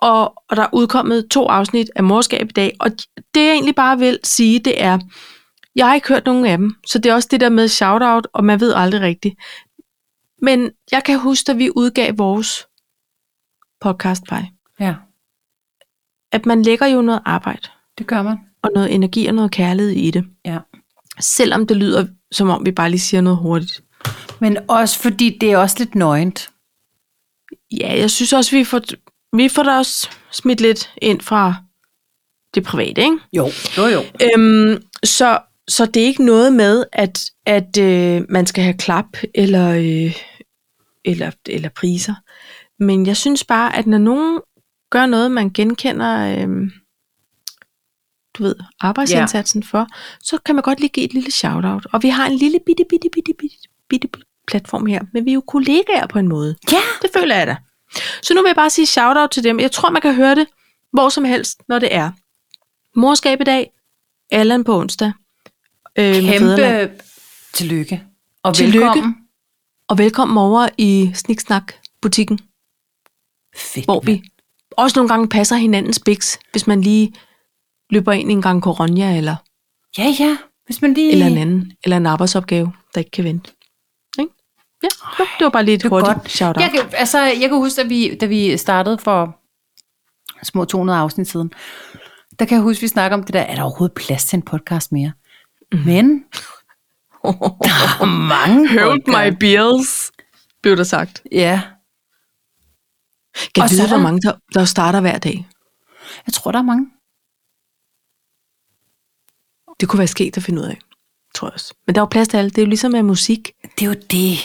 og, og der er udkommet to afsnit af Morskab i dag. Og det, jeg egentlig bare vil sige, det er, jeg har ikke hørt nogen af dem, så det er også det der med shout-out, og man ved aldrig rigtigt. Men jeg kan huske, at vi udgav vores podcast Ja, at man lægger jo noget arbejde, det gør man. og noget energi og noget kærlighed i det. Ja. Selvom det lyder, som om vi bare lige siger noget hurtigt. Men også fordi det er også lidt nøgent. Ja, jeg synes også, vi får, vi får da også smidt lidt ind fra det private, ikke? Jo, jo jo. Øhm, så, så det er ikke noget med, at, at øh, man skal have klap eller, øh, eller, eller priser. Men jeg synes bare, at når nogen gør noget, man genkender øh, du ved, arbejdsindsatsen yeah. for, så kan man godt lige give et lille shout-out. Og vi har en lille bitte, bitte, bitte, bitte, bitte platform her, men vi er jo kollegaer på en måde. Ja. Det føler jeg da. Så nu vil jeg bare sige shout-out til dem. Jeg tror, man kan høre det hvor som helst, når det er. Morskab i dag, Allan på onsdag. Øh, med Fædreland. Kæmpe tillykke. Og Tillykke. velkommen. Og velkommen over i Sniksnak-butikken, Fedt, hvor vi også nogle gange passer hinandens biks, hvis man lige løber ind i en gang Coronia eller, Ja, ja. Hvis man lige... eller en anden, eller en arbejdsopgave, der ikke kan vente. Ikke? Ja, jo, det var bare lige et Det var hurtigt godt. shout-out. Jeg kan, *laughs* altså, jeg kan huske, at vi, da vi startede for små 200 afsnit siden, der kan jeg huske, at vi snakker om det der, er der overhovedet plads til en podcast mere? Mhm. Mm. Men der er mange Hold podcasts. my bills, blev der sagt. Ja, Kan Og jeg så vide, er hvor der- mange der, der starter hver dag? jeg tror, der er mange. Det kunne være sket at finde ud af, tror jeg også. Men der er jo plads til alle. Det er jo ligesom med musik. Det er jo det.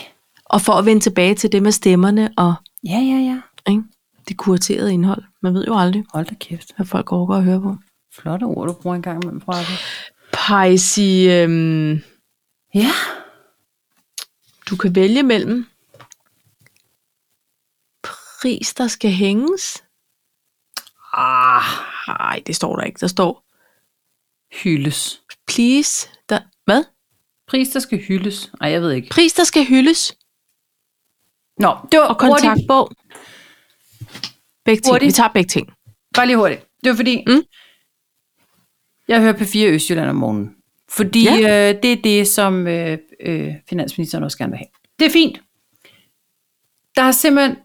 Og for at vende tilbage til det med stemmerne og Ja, ja, ja. ikke, det kuraterede indhold. Man ved jo aldrig, Hold da kæft. hvad folk overgår at høre på. Flotte ord, du bruger engang imellem, fra Pejsi, øhm, Ja. du kan vælge mellem pris, der skal hænges. Ah, Nej, det står der ikke. Der står hyldes. please. Der, hvad? Pris, der skal hyldes. Nej, jeg ved ikke. Pris, der skal hyldes. Nå, det var Og kontaktbog. Begge ting. Hurtigt. Vi tager begge ting. Bare lige hurtigt. Det var fordi, Mm. mm. jeg hører P4 Østjylland om morgenen. Fordi ja. øh, det er det, som øh, øh, finansministeren også gerne vil have. Det er fint. Der er simpelthen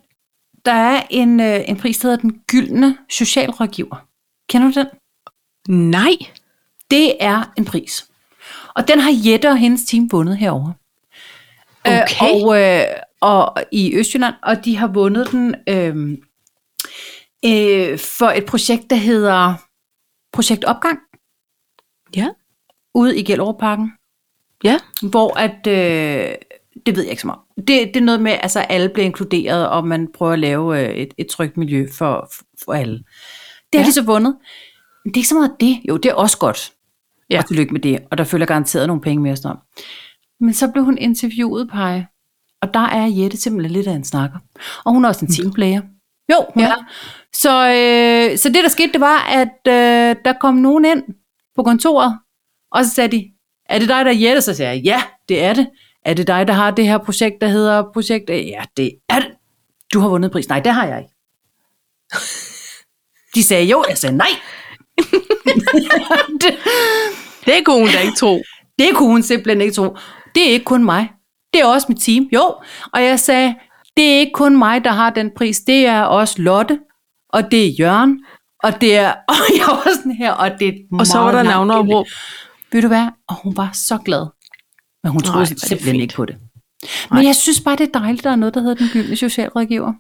der er en, øh, en pris, der hedder Den Gyldne Socialrådgiver. Kender du den? Nej. Det er en pris. Og den har Jette og hendes team vundet herover. Okay. Øh, og, øh, og i Østjylland, og de har vundet den øh, øh, for et projekt, der hedder Projekt Opgang Ja. ude i Gellerup-parken, Ja. hvor at, øh, det ved jeg ikke så meget om. Det, det er noget med, at altså, alle bliver inkluderet, og man prøver at lave øh, et, et trygt miljø for, for alle. Det har Ja. de så vundet. Men det er ikke så meget det. Jo, det er også godt. Ja. Ja. Og tillykke med det. Og der følger garanteret nogle penge med os om. Men så blev hun interviewet, Paj. Og der er Jette simpelthen lidt af en snakker. Og hun er også en teamplayer. Jo, hun ja. Ja. er. Så, øh, så det, der skete, det var, at øh, der kom nogen ind på kontoret, og så sagde de, er det dig, der er Jette? Så sagde jeg, ja, det er det. Er det dig, der har det her projekt, der hedder projekt? A?" Ja, det er det. Du har vundet pris. Nej, det har jeg ikke. De sagde jo, jeg sagde nej. *laughs* det, Det kunne hun da ikke tro. det kunne hun simpelthen ikke tro. Det er ikke kun mig. Det er også mit team, jo. Og jeg sagde, det er ikke kun mig, der har den pris. Det er også Lotte, og det er Jørgen, og det er... *laughs* Og jeg var sådan her, og det er et Og så var meget der langt indlæg. navneopråb. Ved du hvad? Og hun var så glad. Men hun Nej, troede hvor er det simpelthen fint. ikke på det. Men jeg synes bare, det er dejligt, der er noget, der hedder den gyldne socialrådgiver.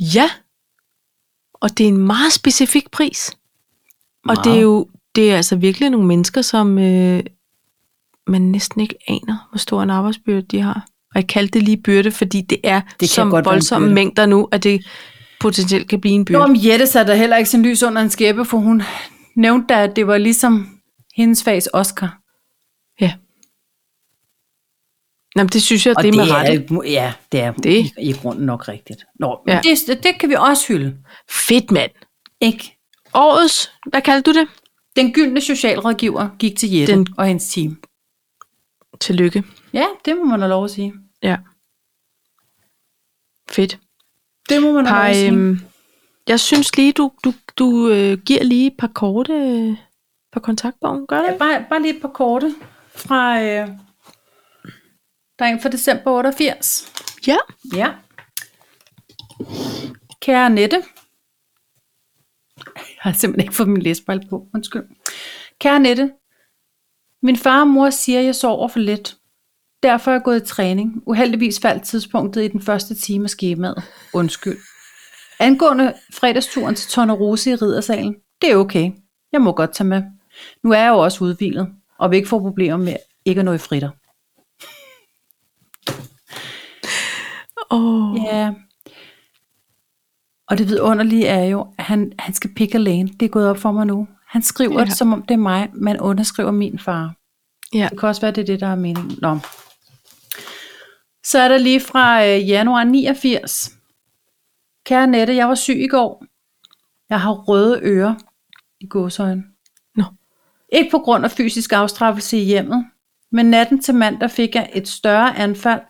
Ja. Og det er en meget specifik pris. Og det er Meget. jo det er altså virkelig nogle mennesker, som øh, man næsten ikke aner, hvor stor en arbejdsbyrde de har. Og jeg kaldte det lige byrde, fordi det er det kan som godt være en voldsomme byrde. mængder nu, at det potentielt kan blive en byrde. Nå, men Jette satte da heller ikke sin lys under en skæppe, for hun nævnte da, at det var ligesom hendes fags Oscar. Ja. Jamen, det synes jeg, Og det er det med rette. er, ja, det er Det- det. I, i grunden nok rigtigt. Nå, men Ja. ja. det, det kan vi også hylde. Fedt, mand. Ikke? Årets, hvad kaldte du det? Den gyldne socialrådgiver gik til Jette Den- Den. og hendes team. Tillykke. Ja, det må man have lov at sige. Ja. Fedt. Det må man have lov Par, at sige. øhm, jeg synes lige, du, du, du øh, giver lige et par korte øh, på kontaktbogen. Gør det? Ja, bare, bare lige et par korte fra... Øh, der er en fra december 88. Ja. Ja. Kære Nette. Jeg har simpelthen ikke fået min læsbrille på. Undskyld. Kære Nette. Min far og mor siger, at jeg sover for lidt. Derfor er jeg gået i træning. Uheldigvis faldt tidspunktet i den første time af skemaet. Undskyld. Angående fredagsturen til Tornerose i Ridersalen. Det er okay. Jeg må godt tage med. Nu er jeg jo også udvilet, og vil ikke få problemer med ikke at nå i fritter. Åh, oh, Ja. Og det vidunderlige er jo, at han, han skal pick a lane. Det er gået op for mig nu. Han skriver Ja. ja. det, som om det er mig, man underskriver min far. ja. Det kan også være, det er det, der er meningen. Nå. Så er der lige fra øh, januar 89. Kære Nette, jeg var syg i går. Jeg har røde ører i godsøjne. Nå. Ikke på grund af fysisk afstraffelse i hjemmet, men natten til mandag fik jeg et større anfald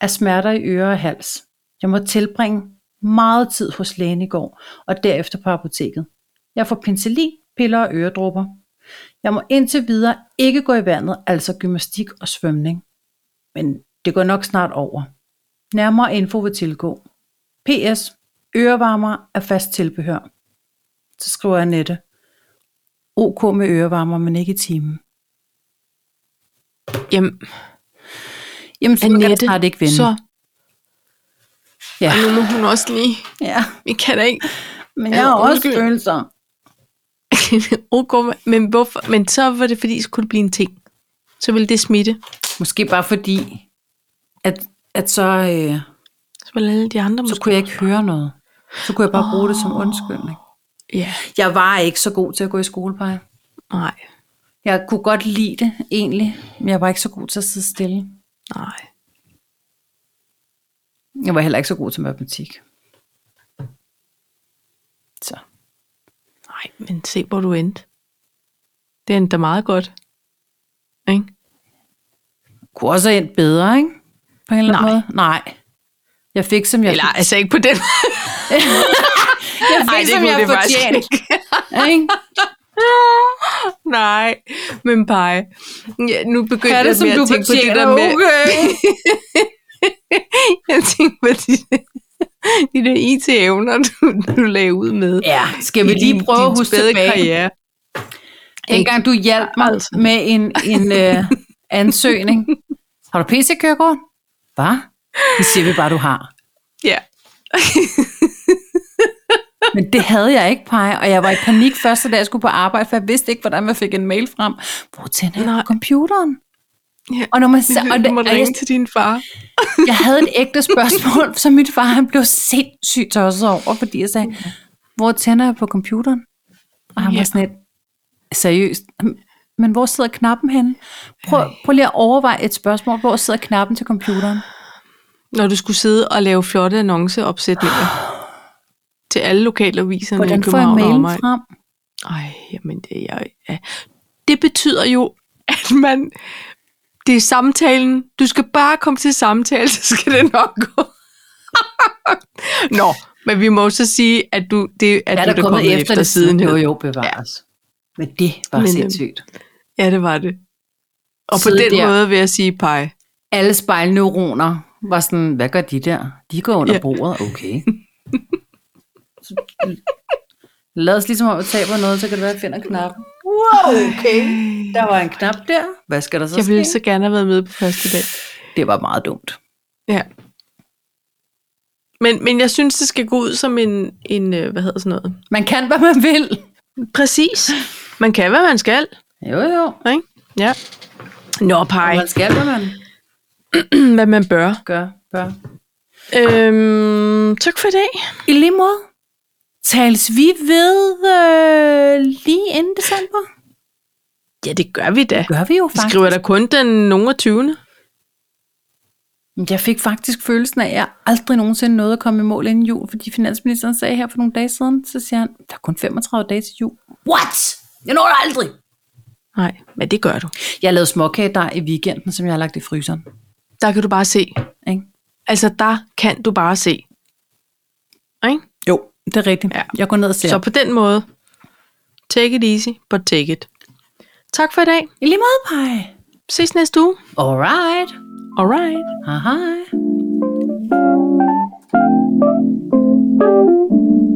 af smerter i ører og hals. Jeg må tilbringe meget tid hos lægen i går, og derefter på apoteket. Jeg får penicillin, piller og øredrupper. Jeg må indtil videre ikke gå i vandet, altså gymnastik og svømning. Men det går nok snart over. Nærmere info vil tilgå. PS. Ørevarmer er fast tilbehør. Så skriver jeg Nette. OK med ørevarmer, men ikke i timen. Jamen, Jamen, så kan jeg Annette, snart ikke vende. så ja. nu må hun også lige... ja, Vi kan da ikke... *laughs* men Ja, jeg har også undskyld. følelser. okay, Oh, men, hvorfor? men så var det, fordi så kunne det blive en ting. Så ville det smitte. Måske bare fordi, at, at så, øh, Så ville alle de andre så måske... kunne jeg ikke høre noget. Så kunne jeg bare bruge det som undskyldning. Ja, Jeg var ikke så god til at gå i skolepleje. nej, Jeg kunne godt lide det, egentlig, men jeg var ikke så god til at sidde stille. nej. Jeg var heller ikke så god til matematik. Så. Nej, men se, hvor du endte. Det endte da meget godt. Ikke? Kunne også have endt bedre, ikke? På en eller anden Nej. måde. Nej. Jeg fik, som jeg, Eller altså ikke på den måde. *laughs* jeg, fik, Ej, *laughs* Ej, det som kunne jeg det faktisk fortjente. Ikke? Nej, men pej. Ja, nu begynder Kan jeg det, som mere du at tænke på det fortjener, der med... øh, okay? *laughs* Jeg tænker på de, de der IT-evner, du, du lagde ud med. Ja, skal vi i din- lige prøve din at huske spæde tilbage? Karriere. En gang du hjalp mig Altså. med en, en øh, *laughs* ansøgning. Har du PC-kørekort? Hvad? Det siger vi bare, du har. Ja. Men det havde jeg ikke, Paj, og jeg var i panik første dag, jeg skulle på arbejde, for jeg vidste ikke, hvordan man fik en mail frem. Hvor tænder Nej. jeg på computeren? Ja. Og når *laughs* man så, og, Og du det, og måtte jeg, ringe til din far. jeg havde et ægte spørgsmål, som min far han blev sindssygt tosset over, fordi jeg sagde, hvor tænder jeg på computeren? Og han Ja. var sådan lidt, seriøst, men hvor sidder knappen henne? Prøv, prøv lige at overveje et spørgsmål, hvor sidder knappen til computeren? Når du skulle sidde og lave flotte annonceopsætninger til alle lokalaviserne i Hvordan får jeg København og mailen omegn. frem? Ej, jamen det, jeg, ja. det betyder jo, at man, det er samtalen. Du skal bare komme til samtale, så skal det nok gå. *laughs* Nå, men vi må jo så sige, at du, det, at Jeg du er da kommet, kommet efter, efter siden. Jo, Jo. jo, bevares. Ja. Men det var Men, øhm, sindssygt. Ja, det var det. Og på Sidde den der. måde vil jeg sige, pej, alle spejlneuroner var sådan, hvad gør de der? De går under Ja. ja. bordet, okay. Så Lad os ligesom om, at taber noget, så kan det være, at jeg finder knappen. Wow, okay. Der var en knap der. Hvad skal der så Jeg ske? ville så gerne have været med på første dag. Det var meget dumt. Ja. Men, men jeg synes, det skal gå ud som en, en øh, hvad hedder sådan noget? Man kan, hvad man vil. Præcis. Man kan, hvad man skal. Jo, jo. Ikke? Ja. Nå, Ej. pej. Man skal, hvad man Hvad *clears throat* man bør. gør. Bør. Øhm, tak for i dag. I lige måde, tales vi ved øh, lige inden december? Ja, det gør vi da. Gør vi jo Vi faktisk. skriver da kun den nogen 20. Jeg fik faktisk følelsen af, at jeg aldrig nogensinde nåede at komme i mål inden jul, fordi finansministeren sagde her for nogle dage siden, så siger han, der er kun 35 dage til jul. What? Jeg når det aldrig. Nej, men det gør du. Jeg lavede småkagedej i weekenden, som jeg har lagt i fryseren. Der kan du bare se. Ikke? Altså, der kan du bare se. Ikke? Jo, det er rigtigt. Ja. Ja. Jeg går ned og ser. Så på den måde, take it easy, but take it. Tak for i dag. I lige måde, pej. Ses næste uge. Alright. Alright. Hej hej.